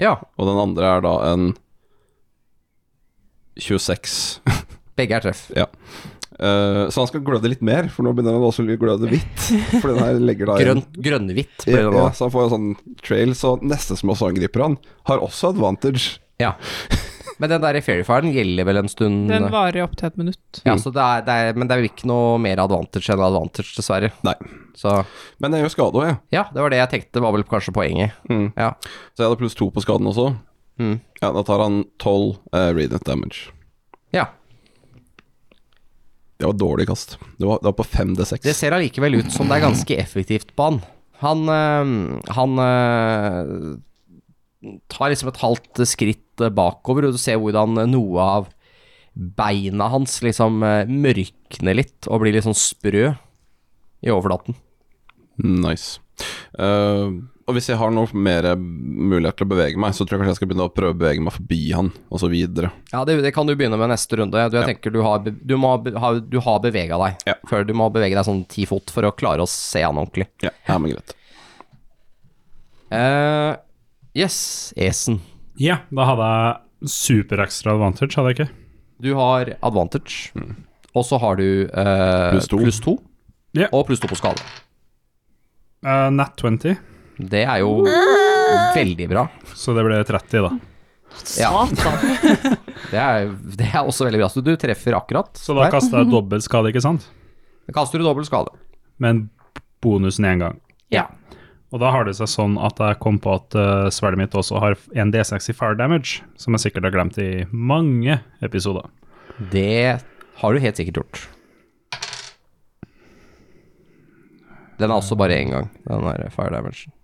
S5: ja.
S3: og den andre er da en 26.
S5: Begge er treff.
S3: (laughs) Eh, så han skal gløde litt mer, for nå begynner han også å gløde hvitt. For den her
S5: (laughs)
S3: legger da
S5: Grønn, grønnhvitt
S3: Ja,
S5: blir det nå.
S3: ja, så han får en sånn trail, så neste som også angriper han, har også advantage.
S5: Ja. Men den der i Fairfiren gjelder vel en stund?
S6: Den varer i opptil et minutt.
S5: Mm, ja, så det er, det er, men det er vel ikke noe mer advantage enn advantage, dessverre.
S3: Nei.
S5: Så
S3: Men jeg gjør skade òg, jeg.
S5: ja, det var det jeg tenkte var vel kanskje poenget.
S3: Mm.
S5: Ja.
S3: Så jeg hadde pluss to på skaden også.
S5: Mm.
S3: Ja, da tar han tolv uh, radiant damage.
S5: ja.
S3: Det var dårlig kast. Det var, det var på
S5: Det
S3: 5D6.
S5: ser allikevel ut som det er ganske effektivt på han. Han, eh, han eh, tar liksom et halvt skritt eh, bakover, og du ser hvordan noe av beina hans liksom eh, mørkner litt og blir litt sånn sprø i overflaten.
S3: Nice. Eh, og hvis jeg har noe mer mulighet til å bevege meg, så tror jeg kanskje jeg skal begynne å prøve å bevege meg forbi han, og så videre.
S5: Ja, det, det kan du begynne med neste runde. Du, jeg tenker du har, be- du må, ha be- ha, du har bevega deg.
S3: Ja.
S5: Før du må bevege deg sånn ti fot for å klare å se han ordentlig.
S3: Ja, ja men greit.
S5: Eh, yes, Esen.
S7: Ja, da hadde jeg super extra advantage, hadde jeg ikke?
S5: Du har advantage, og så har du eh,
S3: Pluss to.
S5: pluss to.
S7: Ja.
S5: Og pluss to på skala.
S7: Eh, nat 20,
S5: Det er jo veldig bra.
S7: så det ble 30, da.
S5: Ja. (laughs) Det er, det er også veldig bra. Så du treffer akkurat.
S7: Så da
S5: der.
S7: kasta jeg dobbelt skade, ikke sant?
S5: kaster du dobbel skade.
S7: Med bonusen én gang.
S5: Ja.
S7: Og da har det seg sånn at jeg kom på at eh, sverdet mitt også har en D6 i fire damage, som jeg sikkert har glemt i mange episoder.
S5: Det har du helt sikkert gjort. Den er også bare én gang, den der fire dimension.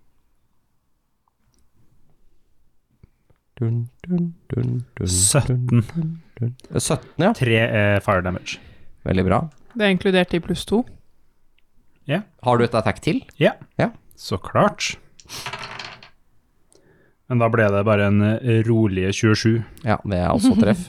S5: Dun, dun, dun, dun,
S7: 17.
S5: 17, Eh, ja.
S7: Tre er fire damage.
S5: Veldig bra.
S6: Det er inkludert i pluss to.
S5: Har du et attack til?
S7: Ja.
S5: Ja.
S7: Så klart. Men da ble det bare en eh, rolige 27.
S5: Ja, det er også treff.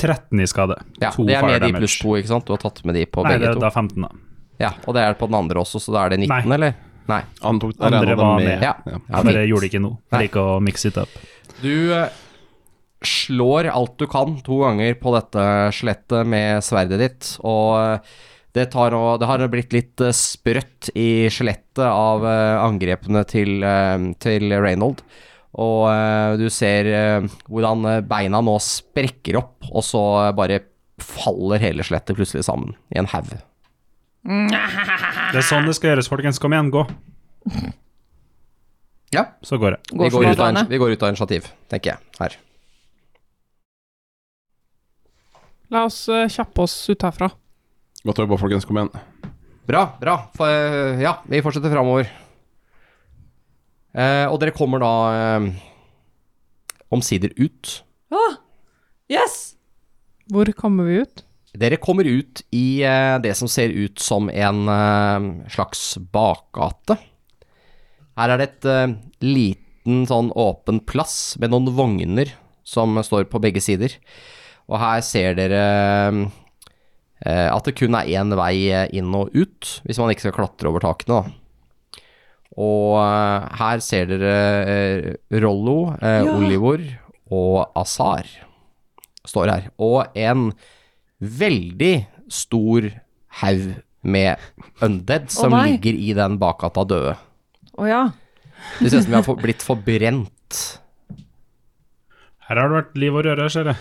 S7: 13 i skade.
S5: Ja,
S7: To
S5: det er
S7: fire
S5: med de
S7: damage.
S5: pluss to, ikke sant? Du har tatt med de på
S7: Nei,
S5: begge
S7: det,
S5: to.
S7: det er 15, da.
S5: Ja, Og det er på den andre også, så da er det 19,
S7: Nei.
S5: eller? Nei.
S3: Han tok
S7: Andre
S3: jeg regnet
S7: var
S3: det
S7: med.
S5: Ja.
S3: Ja.
S5: Ja,
S7: Bare
S5: fint.
S7: gjorde det ikke nå. Jeg
S5: Nei.
S7: liker å mix it up.
S5: Du eh, slår alt du kan to ganger på dette skjelettet med sverdet ditt, og eh, det, tar, nå- det har blitt litt eh, sprøtt i skjelettet av eh, angrepene til, eh, til Reynold. Og eh, du ser eh, hvordan eh, beina nå sprekker opp, og så eh, bare faller hele skjelettet plutselig sammen i en haug.
S7: Det er sånn det skal gjøres, folkens. Kom igjen, gå.
S5: (laughs) Ja.
S7: Så går jeg.
S5: Vi
S4: Går
S5: går,
S4: for
S5: ut av,
S4: vannet.
S5: vi går ut av initiativ, tenker jeg, her.
S6: La oss eh, kjappe oss ut herfra.
S3: Godt jobba, folkens. Kom igjen.
S5: Bra, bra. For, eh, ja, vi fortsetter framover. Eh, og dere kommer da eh, omsider ut.
S4: Yes!
S6: Hvor kommer vi ut?
S5: Dere kommer ut i eh, det som ser ut som en eh, slags bakgate. Her er det et eh, liten sånn åpen plass med noen vogner som står på begge sider. Og her ser dere eh, at det kun er én vei eh, inn og ut, hvis man ikke skal klatre over takene, da. Og eh, her ser dere eh, Rollo, eh, Olivor og Azar står her. Og en veldig stor haug med undead som
S4: nei.
S5: ligger i den bakgata døde.
S4: Å ja.
S5: Det ser ut som vi har for- blitt forbrent.
S7: Her har det vært liv og røre, ser jeg.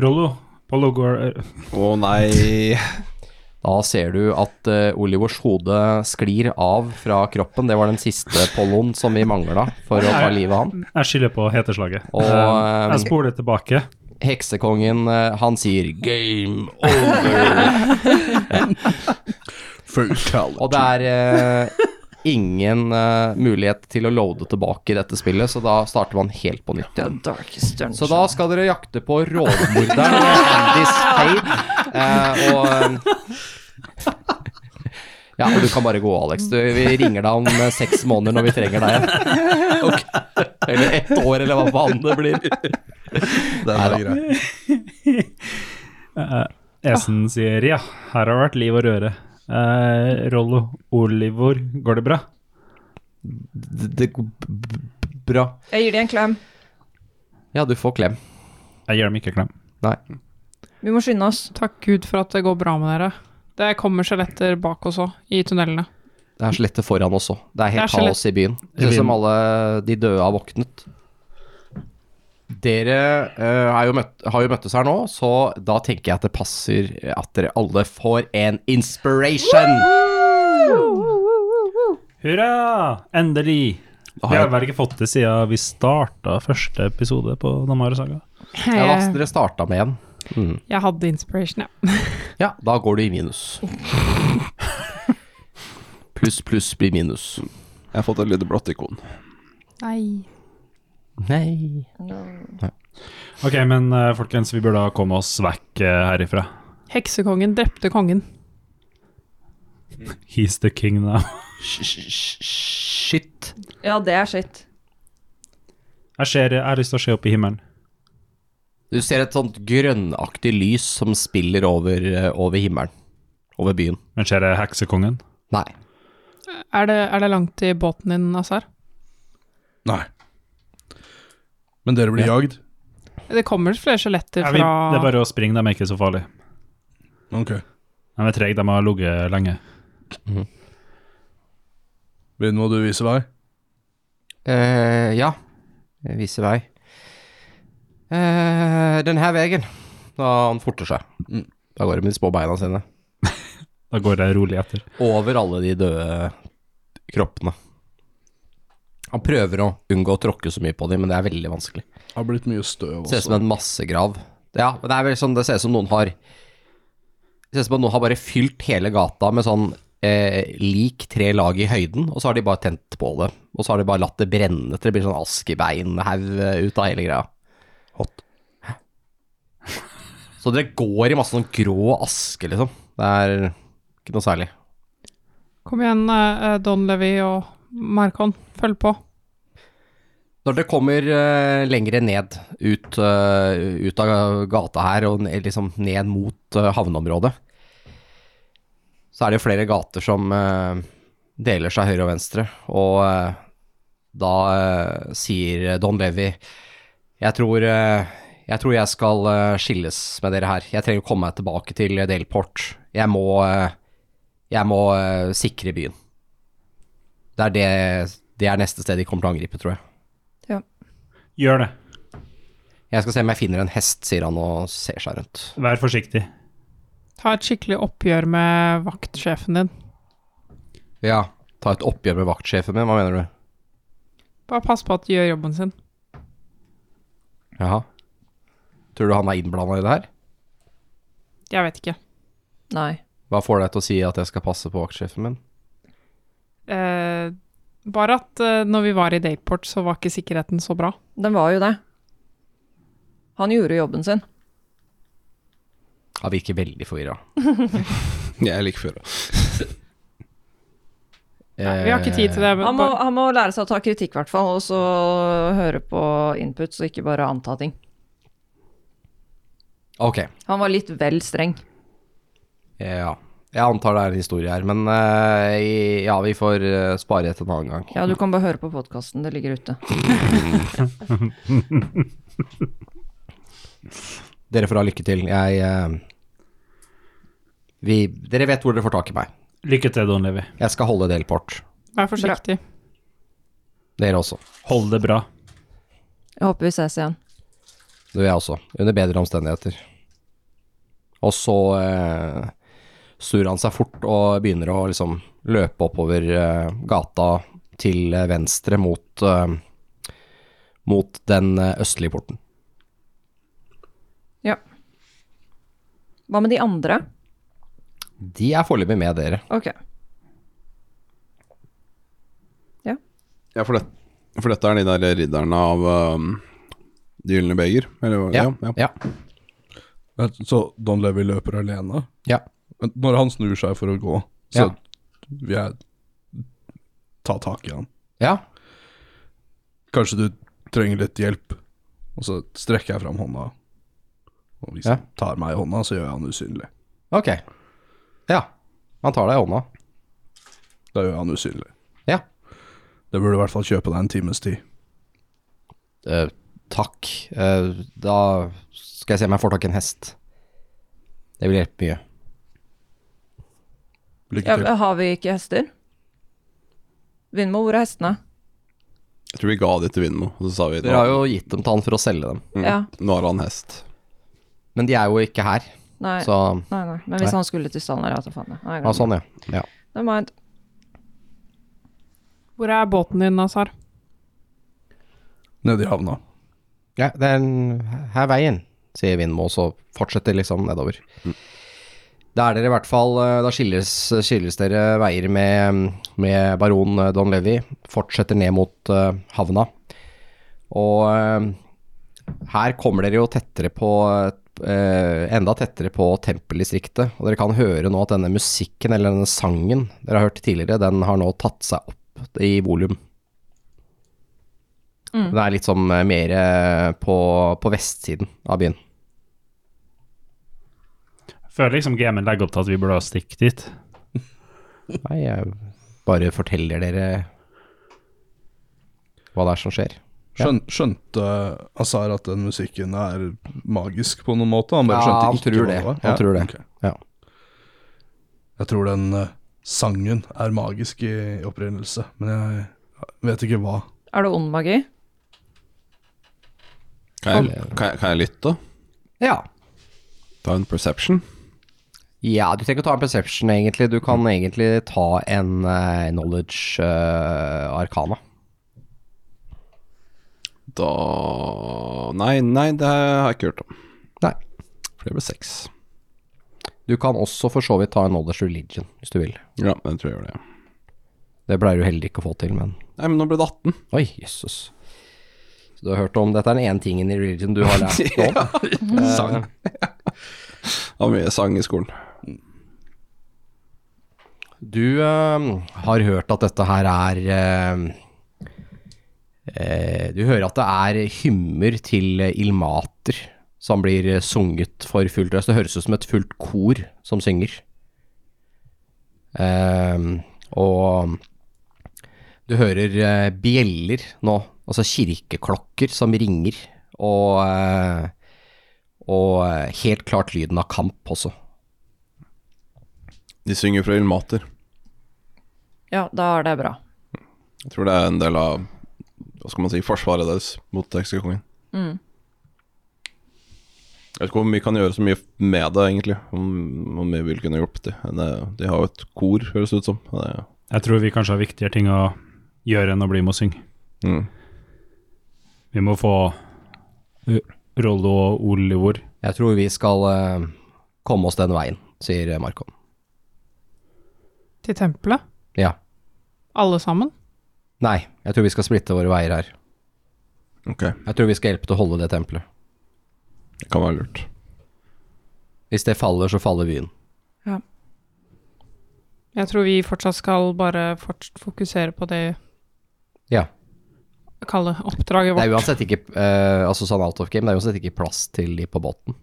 S7: Rollo, Pollo går eh,
S3: Å nei. (laughs)
S5: Da ser du at eh, Olivers hode sklir av fra kroppen. Det var den siste polloen som vi mangla for å ta livet av han.
S7: Jeg skylder på heteslaget.
S5: Og,
S7: Eh,
S5: eh,
S7: jeg spoler tilbake.
S5: Heksekongen, eh, han sier 'game over'.
S2: Fatality.
S5: Og det er eh, ingen eh, mulighet til å loade tilbake i dette spillet, så da starter man helt på nytt igjen.
S4: Darkest dungeon.
S5: Mm. Så da skal dere jakte på rovmorderen Andys Fade. Eh, og eh, Ja, og du kan bare gå, Alex. Du, vi ringer deg om eh, seks måneder når vi trenger deg igjen. Eller ett år, eller hva faen det blir.
S2: Det er
S5: Neida.
S2: greit.
S7: Esen sier ja, her har det vært liv og røre. Eh, Rollo, Olivor, går det bra?
S5: Det, det går b- b- bra.
S4: Jeg gir dem en klem.
S5: Ja, du får klem.
S7: Jeg gir dem ikke klem.
S5: Nei.
S4: Vi må skynde oss.
S6: Takk Gud for at det går bra med dere. Det kommer skjeletter bak oss òg, i tunnelene.
S5: Det er skjelettet foran også. Det er helt
S6: Det er
S5: kaos i byen. Det ser ut som alle de døde har våknet. Dere eh, er jo møtt, har jo møttes her nå, så da tenker jeg at det passer at dere alle får en inspiration.
S7: Hurra! Endelig! Vi har vel ikke fått det siden vi starta første episode på Damare Saga.
S5: Ja, da
S6: Jeg,
S5: dere starta med en. Mm.
S6: Eh, jeg hadde inspiration, ja.
S5: Ja, da går du i minus. (laughs) Pluss, pluss blir minus.
S3: Jeg har fått et lite blått ikon.
S6: Nei.
S5: Nei.
S7: Ok, men eh, folkens, vi burde da komme oss vekk eh, herifra.
S6: Heksekongen drepte kongen.
S7: He's the king now.
S5: Sh- sh- sh- Shit.
S4: Ja, det er skitt.
S7: (laughs) Jeg ser, jeg har lyst til å se opp i himmelen.
S5: Du ser et sånt grønnaktig lys som spiller over, eh, over himmelen. Over byen.
S7: Men ser jeg heksekongen?
S5: Nei.
S6: Er det, er det langt til båten din, Azar?
S2: Nei. Men dere blir jagd?
S6: Det kommer flere skjeletter
S7: Ja,
S6: fra
S7: vi, det er bare å springe, de er ikke så farlige.
S2: Ok.
S7: De er trege, de har ligget lenge.
S2: Vind, må du vise vei?
S5: Eh, ja. Jeg viser vei. Eh, den her veien. Da han forter seg. Da går det med de små beina sine.
S7: Da går jeg rolig etter.
S5: Over alle de døde kroppene. Han prøver å unngå å tråkke så mye på dem, men det er veldig vanskelig.
S2: Det har blitt mye støv
S5: Ser ut som
S2: også.
S5: en massegrav. Ja, men det er vel sånn, det ser ut som noen har Det ser ut som at noen har bare fylt hele gata med sånn eh, lik tre lag i høyden, og så har de bare tent på det. Og så har de bare latt det brenne til det blir sånn askebeinhaug eh, ut av hele greia.
S2: Hot.
S5: Så dere går i masse sånn grå aske, liksom. Det er ikke noe særlig.
S6: Kom igjen, eh, Don Levi og Markon. Følg på.
S5: Når dere kommer eh, lengre ned, ut, eh, ut av gata her, og ned, liksom ned mot eh, havneområdet, så er det jo flere gater som eh, deler seg høyre og venstre, og eh, da eh, sier Don Levi jeg tror, eh, jeg tror jeg skal eh, skilles med dere her. Jeg trenger å komme meg tilbake til Delport. Jeg må, eh, jeg må eh, sikre byen. Det er, det, det er neste sted de kommer til å angripe, tror jeg.
S7: Gjør det.
S5: Jeg skal se om jeg finner en hest, sier han og ser seg rundt.
S7: Vær forsiktig.
S6: Ta et skikkelig oppgjør med vaktsjefen din.
S5: Ja. Ta et oppgjør med vaktsjefen min, hva mener du?
S6: Bare pass på at de gjør jobben sin.
S5: Jaha. Tror du han er innblanda i det her?
S6: Jeg vet ikke.
S4: Nei.
S5: Hva får deg til å si at jeg skal passe på vaktsjefen min?
S6: Eh, bare at eh, når vi var i Dateport, så var ikke sikkerheten så bra.
S4: Den var jo det. Han gjorde jobben sin.
S5: Han virker veldig forvirra.
S3: Jeg er like før.
S6: Vi
S5: Eh,
S6: har ikke tid til det. Men
S4: Han må,
S6: bare,
S4: han må lære seg å ta kritikk, i hvert fall, og så høre på input, så ikke bare anta ting.
S5: Ok,
S4: Han var litt vel streng.
S5: ja. Jeg antar det er en historie her, men eh, i- ja, vi får eh, spare et en annen gang.
S4: Ja, du kan bare høre på podkasten, det ligger ute.
S5: Dere får ha lykke til. Jeg eh, vi, Dere vet hvor dere får tak i meg.
S7: Lykke til, Don Levi.
S5: Jeg skal holde delport.
S6: vær forsiktig.
S5: Dere også.
S7: Hold det bra.
S4: Jeg håper vi ses igjen.
S5: Det vil jeg også, under bedre omstendigheter. Og så eh, snur han seg fort og begynner å liksom løpe oppover eh, gata til eh, venstre mot, eh, mot den eh, østlige porten.
S4: Ja. Hva med de andre?
S5: De er foreløpig med dere.
S4: Ok.
S3: Ja, for, det, for dette er de der ridderne av um, De gylne beger? Eller, hva- ja, ja.
S5: ja.
S2: Men Så Don Levi løper alene?
S5: ja.
S2: Men når han snur seg for å gå, så
S5: Ja.
S2: vil jeg ta tak i han.
S5: ja.
S2: Kanskje du trenger litt hjelp? Og så strekker jeg fram hånda. Og hvis
S5: Ja.
S2: han tar meg i hånda, så gjør jeg han usynlig.
S5: Ok. Ja. Han tar deg i hånda.
S2: Da gjør jeg han usynlig.
S5: Ja.
S2: Det burde i hvert fall kjøpe deg en times tid.
S5: Eh, takk. Eh, da skal jeg se om jeg får tak i en hest. Det vil hjelpe mye.
S2: Lykke
S4: Ja,
S2: til.
S4: har vi ikke hester? Vindmo, hvor er hestene?
S3: Jeg tror vi ga det til Vindmo, og så sa vi
S5: Dere har jo gitt dem til han for å selge dem.
S3: Mm.
S4: Ja.
S3: Nå har han hest.
S5: Men de er jo ikke her,
S4: Nei.
S5: så
S4: nei, nei. Men hvis
S5: Nei.
S4: han skulle til stallen, ja, så faen det. Nei,
S5: Ja,
S4: glem det.
S5: sånn, ja. ja.
S4: Never mind.
S6: Hvor er båten din, Azar?
S2: Nede i havna.
S5: Ja, det er en, her er veien, sier Vindmo, og så fortsetter liksom nedover. Da er dere i hvert fall eh, Da skilles, skilles dere veier med, med baron eh, Don Levi. Fortsetter ned mot eh, havna. Og eh, her kommer dere jo tettere på eh, Enda tettere på tempeldistriktet. Og dere kan høre nå at denne musikken, eller denne sangen dere har hørt tidligere, den har nå tatt seg opp i volum.
S4: Mm.
S5: Det er litt sånn eh, mer eh, på, på vestsiden av byen.
S7: Før liksom gamen legger opp til at vi burde stikke dit.
S5: Nei, jeg bare forteller dere hva det er som skjer. Ja.
S2: Skjøn, skjønte Azar at den musikken er magisk på noen måte? Han bare
S5: Ja,
S2: skjønte
S5: han
S2: ikke
S5: tror
S2: hva
S5: det.
S2: var?
S5: Han tror det.
S2: ok.
S5: Ja.
S2: Jeg tror den eh, sangen er magisk i, i opprinnelse, men jeg vet ikke hva.
S4: Er det ond magi?
S3: Kan jeg, kan jeg, kan jeg lytte?
S5: Ja.
S3: Ta en perception?
S5: ja, du trenger ikke å ta en perception, egentlig. Du kan egentlig ta en eh, knowledge eh, arcana.
S3: Da Nei, nei, det har jeg ikke hørt om.
S5: Nei.
S3: For det ble seks.
S5: Du kan også for så vidt ta en knowledge religion, hvis du vil.
S3: Ja, jeg tror jeg gjør det. ja.
S5: Det pleier du heller ikke å få til, men
S3: Nei, men nå ble det 18.
S5: Oi, jøsses. Så du har hørt om Dette er den ene tingen i religion du har (laughs) lært nå?
S2: Sang.
S3: Det var mye sang i skolen.
S5: Du eh, har hørt at dette her er eh, eh, Du hører at det er hymner til eh, ilmater som blir eh, sunget for fullt røst. Det høres ut som et fullt kor som synger. Eh, og du hører eh, bjeller nå, altså kirkeklokker som ringer, og, eh, og eh, helt klart lyden av kamp også.
S3: De synger fra Ilmater.
S4: Ja, da er det bra.
S3: Jeg tror det er en del av Hva skal man si forsvaret deres mot heksekongen. Jeg vet ikke om vi kan gjøre så mye med det, egentlig. Om, om vi vil kunne hjulpet dem. Det, eh, de har jo et kor, høres det ut som. Det,
S7: Jeg tror vi kanskje har viktigere ting å gjøre enn å bli med og synge.
S3: mm.
S7: Vi må få uh, Rollo og Olivor.
S5: Jeg tror vi skal eh, komme oss den veien, sier Markon.
S6: Til tempelet?
S5: Ja.
S6: Alle sammen?
S5: Nei, jeg tror vi skal splitte våre veier her.
S3: Ok,
S5: Jeg tror vi skal hjelpe til å holde det tempelet.
S3: det kan være lurt.
S5: Hvis det faller, så faller byen.
S6: Jeg tror vi fortsatt skal bare fort fokusere på det
S5: Ja.
S6: kalle oppdraget
S5: Det er
S6: vårt.
S5: uansett ikke eh, Altså sånn out of game, det er uansett ikke plass til de på båten.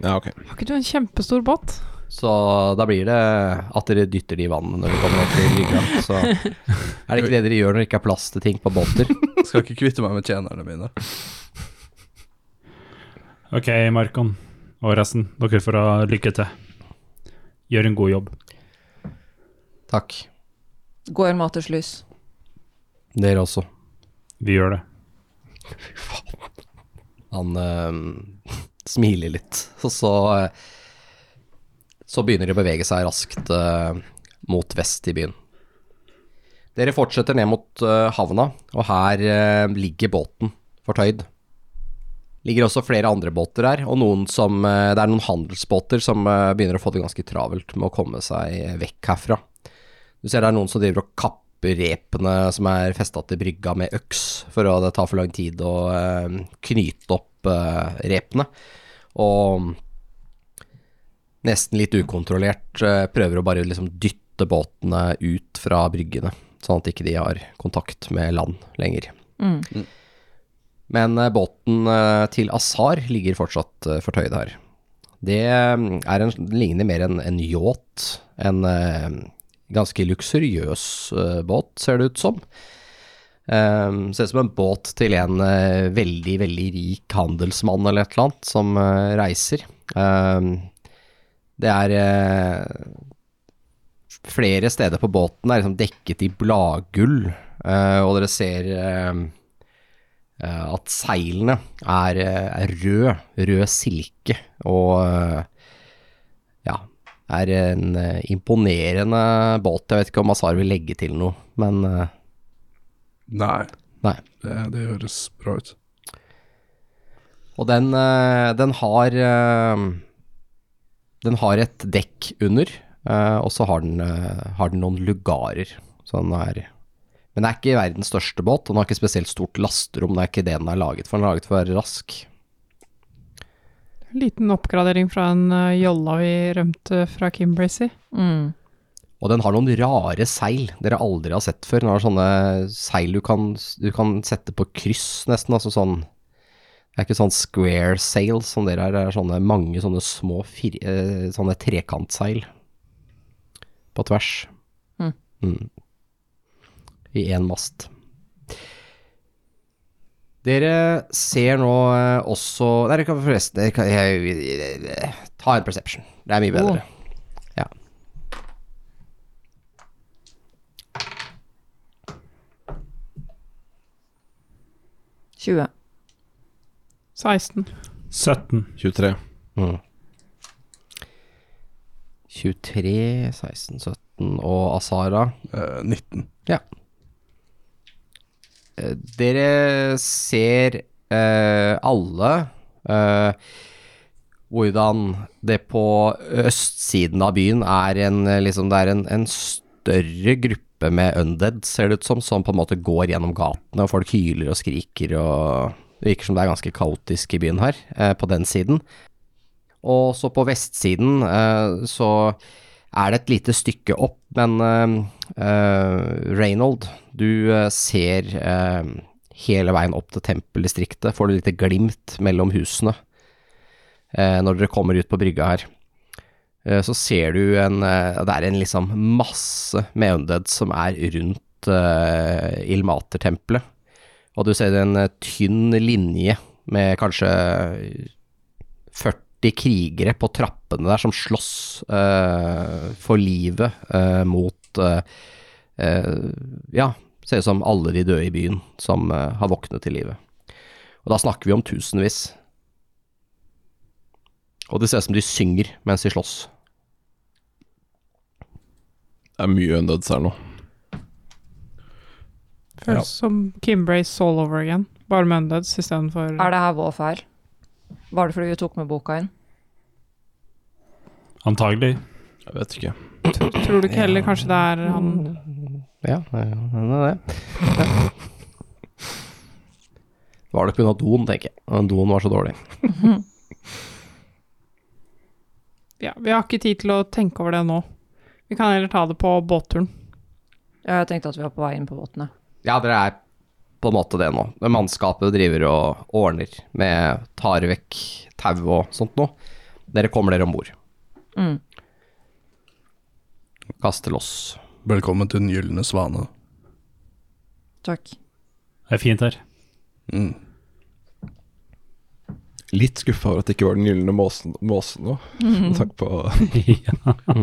S3: Ja, ok.
S6: Har ikke du en kjempestor båt?
S5: Så da blir det at dere dytter de i vannet når dere kommer opp til ryggen. Så er det ikke det dere gjør når det ikke er plass til ting på båter?
S2: Skal ikke kvitte meg med tjenerne mine.
S7: Ok, Markon og resten. Dere får ha lykke til. Gjør en god jobb.
S5: Takk.
S4: Går maters lys.
S5: Dere også.
S7: Vi gjør det.
S5: Han eh, (laughs) smiler litt, og så eh, Så begynner de å bevege seg raskt eh, mot vest i byen. Dere fortsetter ned mot eh, havna, og her eh, ligger båten fortøyd. Ligger også flere andre båter her, og noen som, eh, det er noen handelsbåter som eh, begynner å få det ganske travelt med å komme seg vekk herfra. Du ser det er noen som driver og kapper repene som er festa til brygga med øks, for å det tar for lang tid å eh, knyte opp eh, repene. Og nesten litt ukontrollert eh, prøver å bare liksom dytte båtene ut fra bryggene, sånn at ikke de har kontakt med land lenger.
S4: Mm.
S5: Men eh, båten eh, til Asar ligger fortsatt eh, fortøyd her. Det eh, er en, den ligner mer en, en yacht. En eh, ganske luksuriøs eh, båt, ser det ut som. Eh, ser ut som en båt til en eh, veldig, veldig rik handelsmann eller et eller annet som eh, reiser. Eh, det er eh, flere steder på båten er liksom dekket i bladgull, eh, og dere ser eh, eh, at seilene er, eh, er rød, rød silke, og eh, ja, er en eh, imponerende båt. Jeg vet ikke om Azar vil legge til noe, men eh,
S2: Nei,
S5: nei.
S2: det, det høres bra ut.
S5: Og den, eh, den har eh, Den har et dekk under, eh, og så har den, eh, har den noen lugarer. Så den er Men det er ikke verdens største båt, og den har ikke spesielt stort lasterom. Det er ikke det den er laget for. Den er laget for å være rask.
S6: Liten oppgradering fra en eh, jolla vi rømte fra Kimbracy.
S4: Mm.
S5: Og den har noen rare seil dere aldri har sett før. Den har sånne seil du kan, du kan sette på kryss, nesten. Altså sånn Det er ikke sånn square sail som dere har. Det er sånne, mange sånne små fir, eh, sånne trekantseil på tvers.
S4: Mm.
S5: Mm. I én mast. Dere ser nå eh, også Nei, dere kan forresten dere kan, jeg, Ta en perception. Det er mye bedre. Ja.
S4: Tjue.
S6: 16.
S7: 17.
S3: 23.
S5: 23, 16, 17 og Asara.
S2: Eh, 19.
S5: Ja. Eh, Dere ser eh, alle eh, hvordan det på østsiden av byen er en, eh, liksom, det er en, en større gruppe med undead, ser det ut som, som på en måte går gjennom gatene, og folk hyler og skriker og Det virker som det er ganske kaotisk i byen her, eh, på den siden. Og så på vestsiden eh, så er det et lite stykke opp, men eh, eh, Reynold, du eh, ser eh, hele veien opp til tempeldistriktet, får du et lite glimt mellom husene eh, når dere kommer ut på brygga her. Eh, så ser du en eh, Det er en liksom masse med undead som er rundt eh, Ilmater-tempelet, og du ser en eh, tynn linje med kanskje 40 krigere på trappene der som slåss eh, for livet eh, mot eh, eh, Ja, ser ut som alle de døde i byen som eh, har våknet til livet. Og da snakker vi om tusenvis. Og det ser ut som de synger mens de slåss.
S3: Det er mye undeads her nå.
S6: Føles som Kimbrace all over again. Bare med undeads istedenfor
S4: Er det her vår feil? Var det fordi vi tok med boka inn?
S7: Antagelig.
S3: Jeg vet ikke.
S6: Tror du ikke heller kanskje det er han
S5: Ja, det er det. Var det pga. doen, tenker jeg. Og Doen var så dårlig.
S6: Ja, vi har ikke tid til å tenke over det nå. Vi kan heller ta det på båtturen.
S4: Ja, jeg tenkte at vi var på vei inn på båtene.
S5: Ja, dere er på en måte det nå. Det Mannskapet driver og ordner med tar vekk tau og sånt noe. Dere kommer dere om bord.
S4: Mm.
S5: Kaster loss.
S2: Velkommen til Den gylne svane.
S4: Takk.
S7: Det er fint her. (laughs)
S2: Mm.
S3: Litt skuffa over at det ikke var den gylne måsen, måsen nå. Med tanke på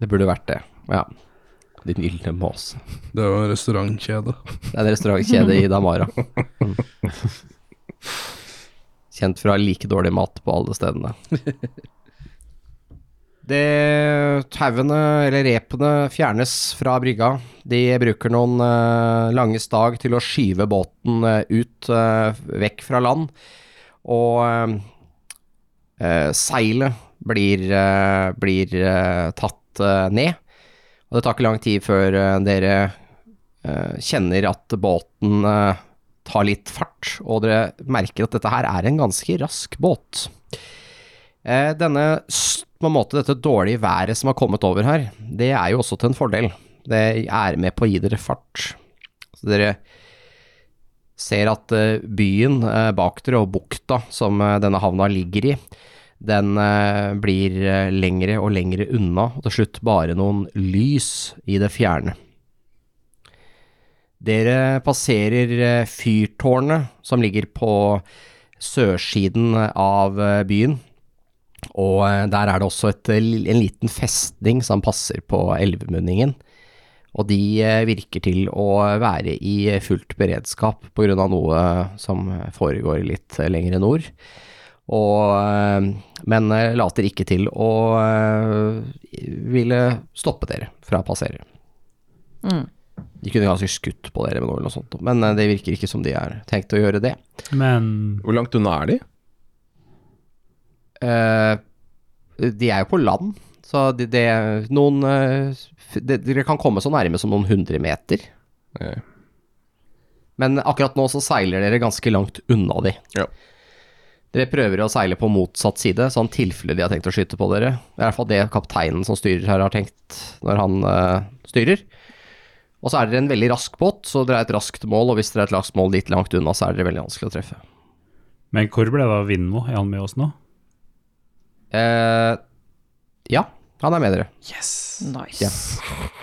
S5: Det burde vært det, ja. Din gylne måse.
S2: Det er jo en restaurantkjede.
S5: Det er en restaurantkjede i Damara. Kjent for å ha like dårlig mat på alle stedene. Det Tauene, eller repene, fjernes fra brygga. De bruker noen eh, lange stag til å skyve båten eh, ut, eh, vekk fra land. Og eh, eh, seilet blir, eh, blir eh, tatt eh, ned. Og det tar ikke lang tid før eh, dere eh, kjenner at båten eh, tar litt fart, og dere merker at dette her er en ganske rask båt. Eh, denne, s- på en måte, dette dårlige været som har kommet over her, det er jo også til en fordel. Det er med på å gi dere fart. Så dere ser at eh, byen eh, bak dere, og bukta som eh, denne havna ligger i, den eh, blir eh, lengre og lengre unna, og til slutt bare noen lys i det fjerne. Dere passerer eh, fyrtårnet som ligger på sørsiden av eh, byen. Og eh, der er det også et, eh, li- en liten festning som passer på elvemunningen. Og de eh, virker til å være i fullt beredskap pga. noe eh, som foregår litt eh, lenger nord. Og, eh, men eh, later ikke til å eh, ville stoppe dere fra å passere. De kunne ganske skutt på dere med noe eller noe sånt, men eh, det virker ikke som de har tenkt å gjøre det.
S7: Men
S3: Hvor langt unna er de?
S5: Eh, de er jo på land, så de, det er noen eh, f- det- Dere kan komme så nærme som noen hundre meter.
S3: Eh,
S5: Men akkurat nå så seiler dere ganske langt unna de.
S3: Ja.
S5: Dere prøver å seile på motsatt side, sånn tilfelle de har tenkt å skyte på dere. Det er i hvert fall det kapteinen som styrer her har tenkt når han eh, styrer. Og så er dere en veldig rask båt, så dere er et raskt mål, og hvis dere er et raskt mål litt langt unna, så er dere veldig vanskelig å treffe.
S7: Men hvor ble det av Vindmo? Er han med oss nå?
S5: Eh, ja, han er med dere.
S4: Nice.
S5: Ja.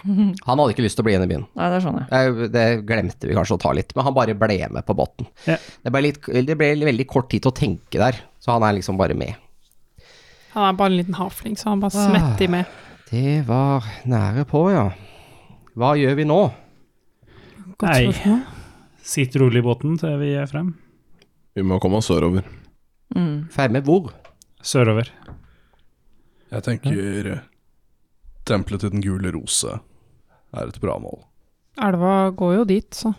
S5: Han hadde ikke lyst til å bli igjen i byen.
S4: Nei, det skjønner jeg.
S5: Eh, Det glemte vi kanskje å ta litt, men han bare ble med på båten.
S7: Ja.
S5: Det, ble litt, det ble veldig kort tid til å tenke der, så han er liksom bare med.
S6: Han er bare en liten havfling, så han bare smetter med.
S5: Det var nære på, ja. Hva gjør vi nå?
S6: Godt
S7: Nei.
S6: spørsmål.
S7: Sitt rolig i båten til vi er frem.
S3: vi må komme oss sørover.
S4: Mm.
S5: Fremme hvor?
S7: Sørover.
S2: Jeg tenker eh, Tempelet til den gule rose er et bra mål.
S6: Elva går jo dit, så.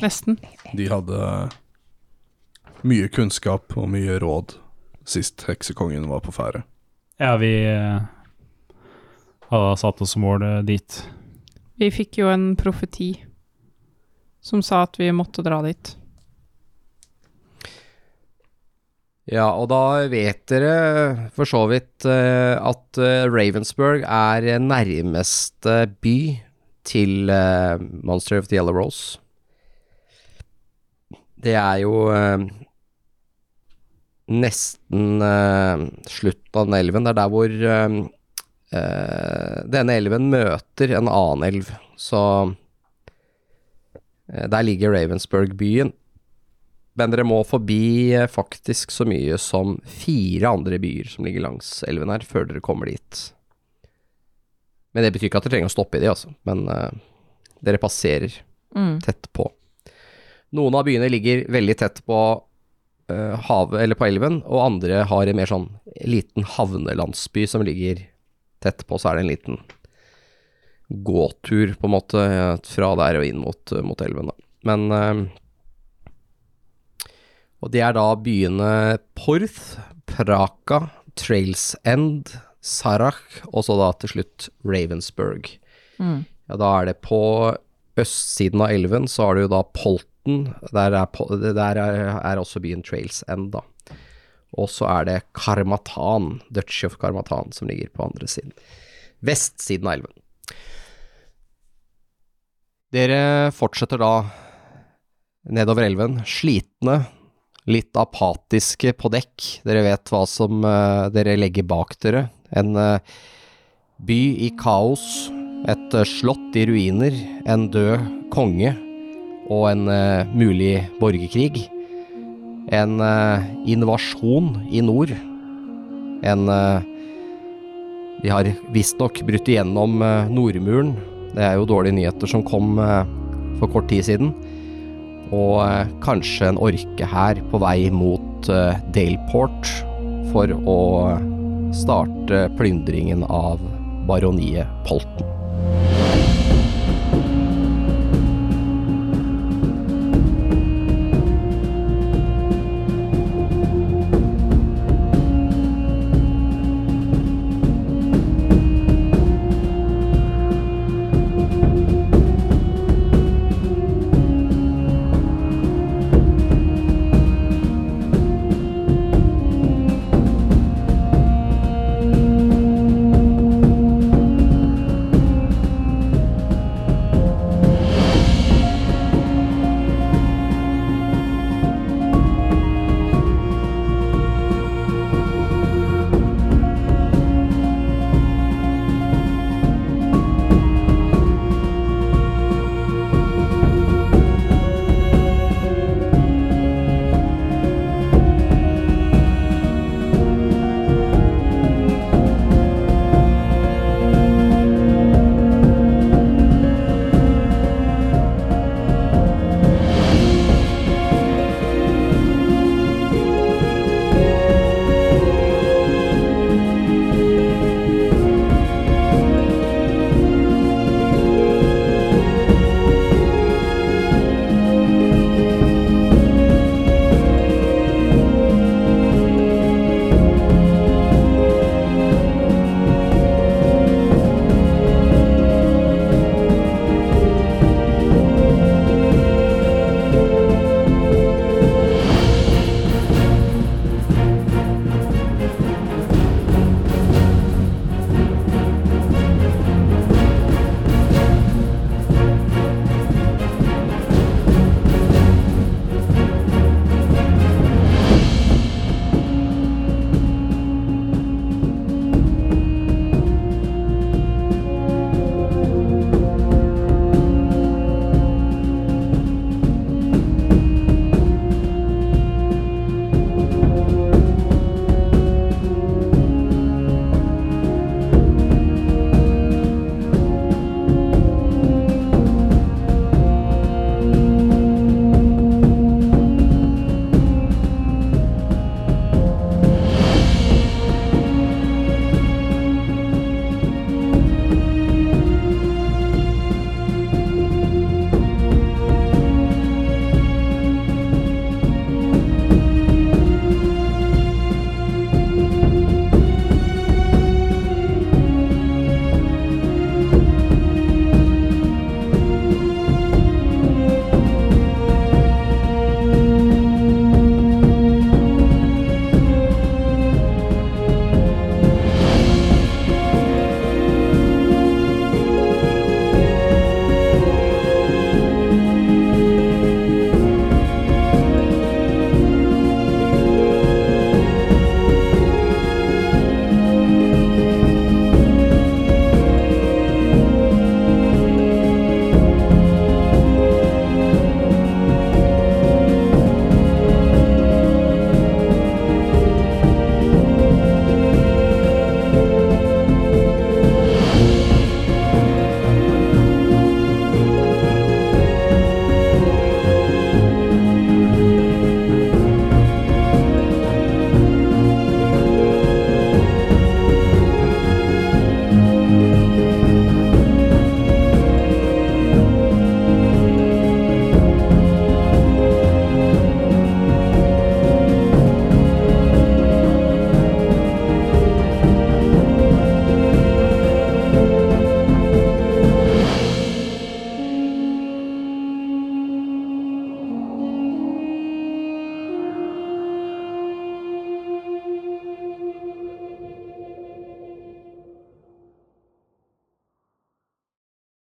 S6: Nesten.
S2: De hadde eh, mye kunnskap og mye råd sist heksekongen var på ferde.
S7: Ja, vi eh, hadde satt oss mål eh, dit.
S6: Vi fikk jo en profeti som sa at vi måtte dra dit.
S5: Ja, og da vet dere for så vidt eh, at eh, Ravensburg er eh, nærmeste by til eh, Monster of the Yellow Rose. Det er jo eh, nesten eh, slutten av den elven. Det er der hvor eh, eh, denne elven møter en annen elv. Så eh, der ligger Ravensburg-byen. Men dere må forbi eh, faktisk så mye som fire andre byer som ligger langs elven her, før dere kommer dit. Men det betyr ikke at dere trenger å stoppe i de, altså. Men eh, dere passerer
S4: Mm.
S5: tett på. Noen av byene ligger veldig tett på eh, havet, eller på elven, og andre har en mer sånn liten havnelandsby som ligger tett på, så er det en liten gåtur, på en måte, eh, fra der og inn mot, eh, mot elven, da. Men eh, og det er da byene Porth, Praka, Trails End, Sarach og så da til slutt Ravensburg.
S4: Mm.
S5: Ja, da er det på østsiden av elven så har du jo da Polten. Der er, Pol- der er, er også byen Trails End, da. Og så er det Karmatan, Duchy of Karmatan, som ligger på andre siden. Vestsiden av elven. Dere fortsetter da nedover elven, slitne, litt apatiske på dekk. Dere vet hva som eh, dere legger bak dere. En eh, by i kaos, et eh, slott i ruiner, en død konge og en eh, mulig borgerkrig. En eh, invasjon i nord. En eh, De har visstnok brutt igjennom eh, Nordmuren. Det er jo dårlige nyheter som kom eh, for kort tid siden og eh, kanskje en orke her på vei mot eh, Daleport eh, for å starte plyndringen av baroniet Polten.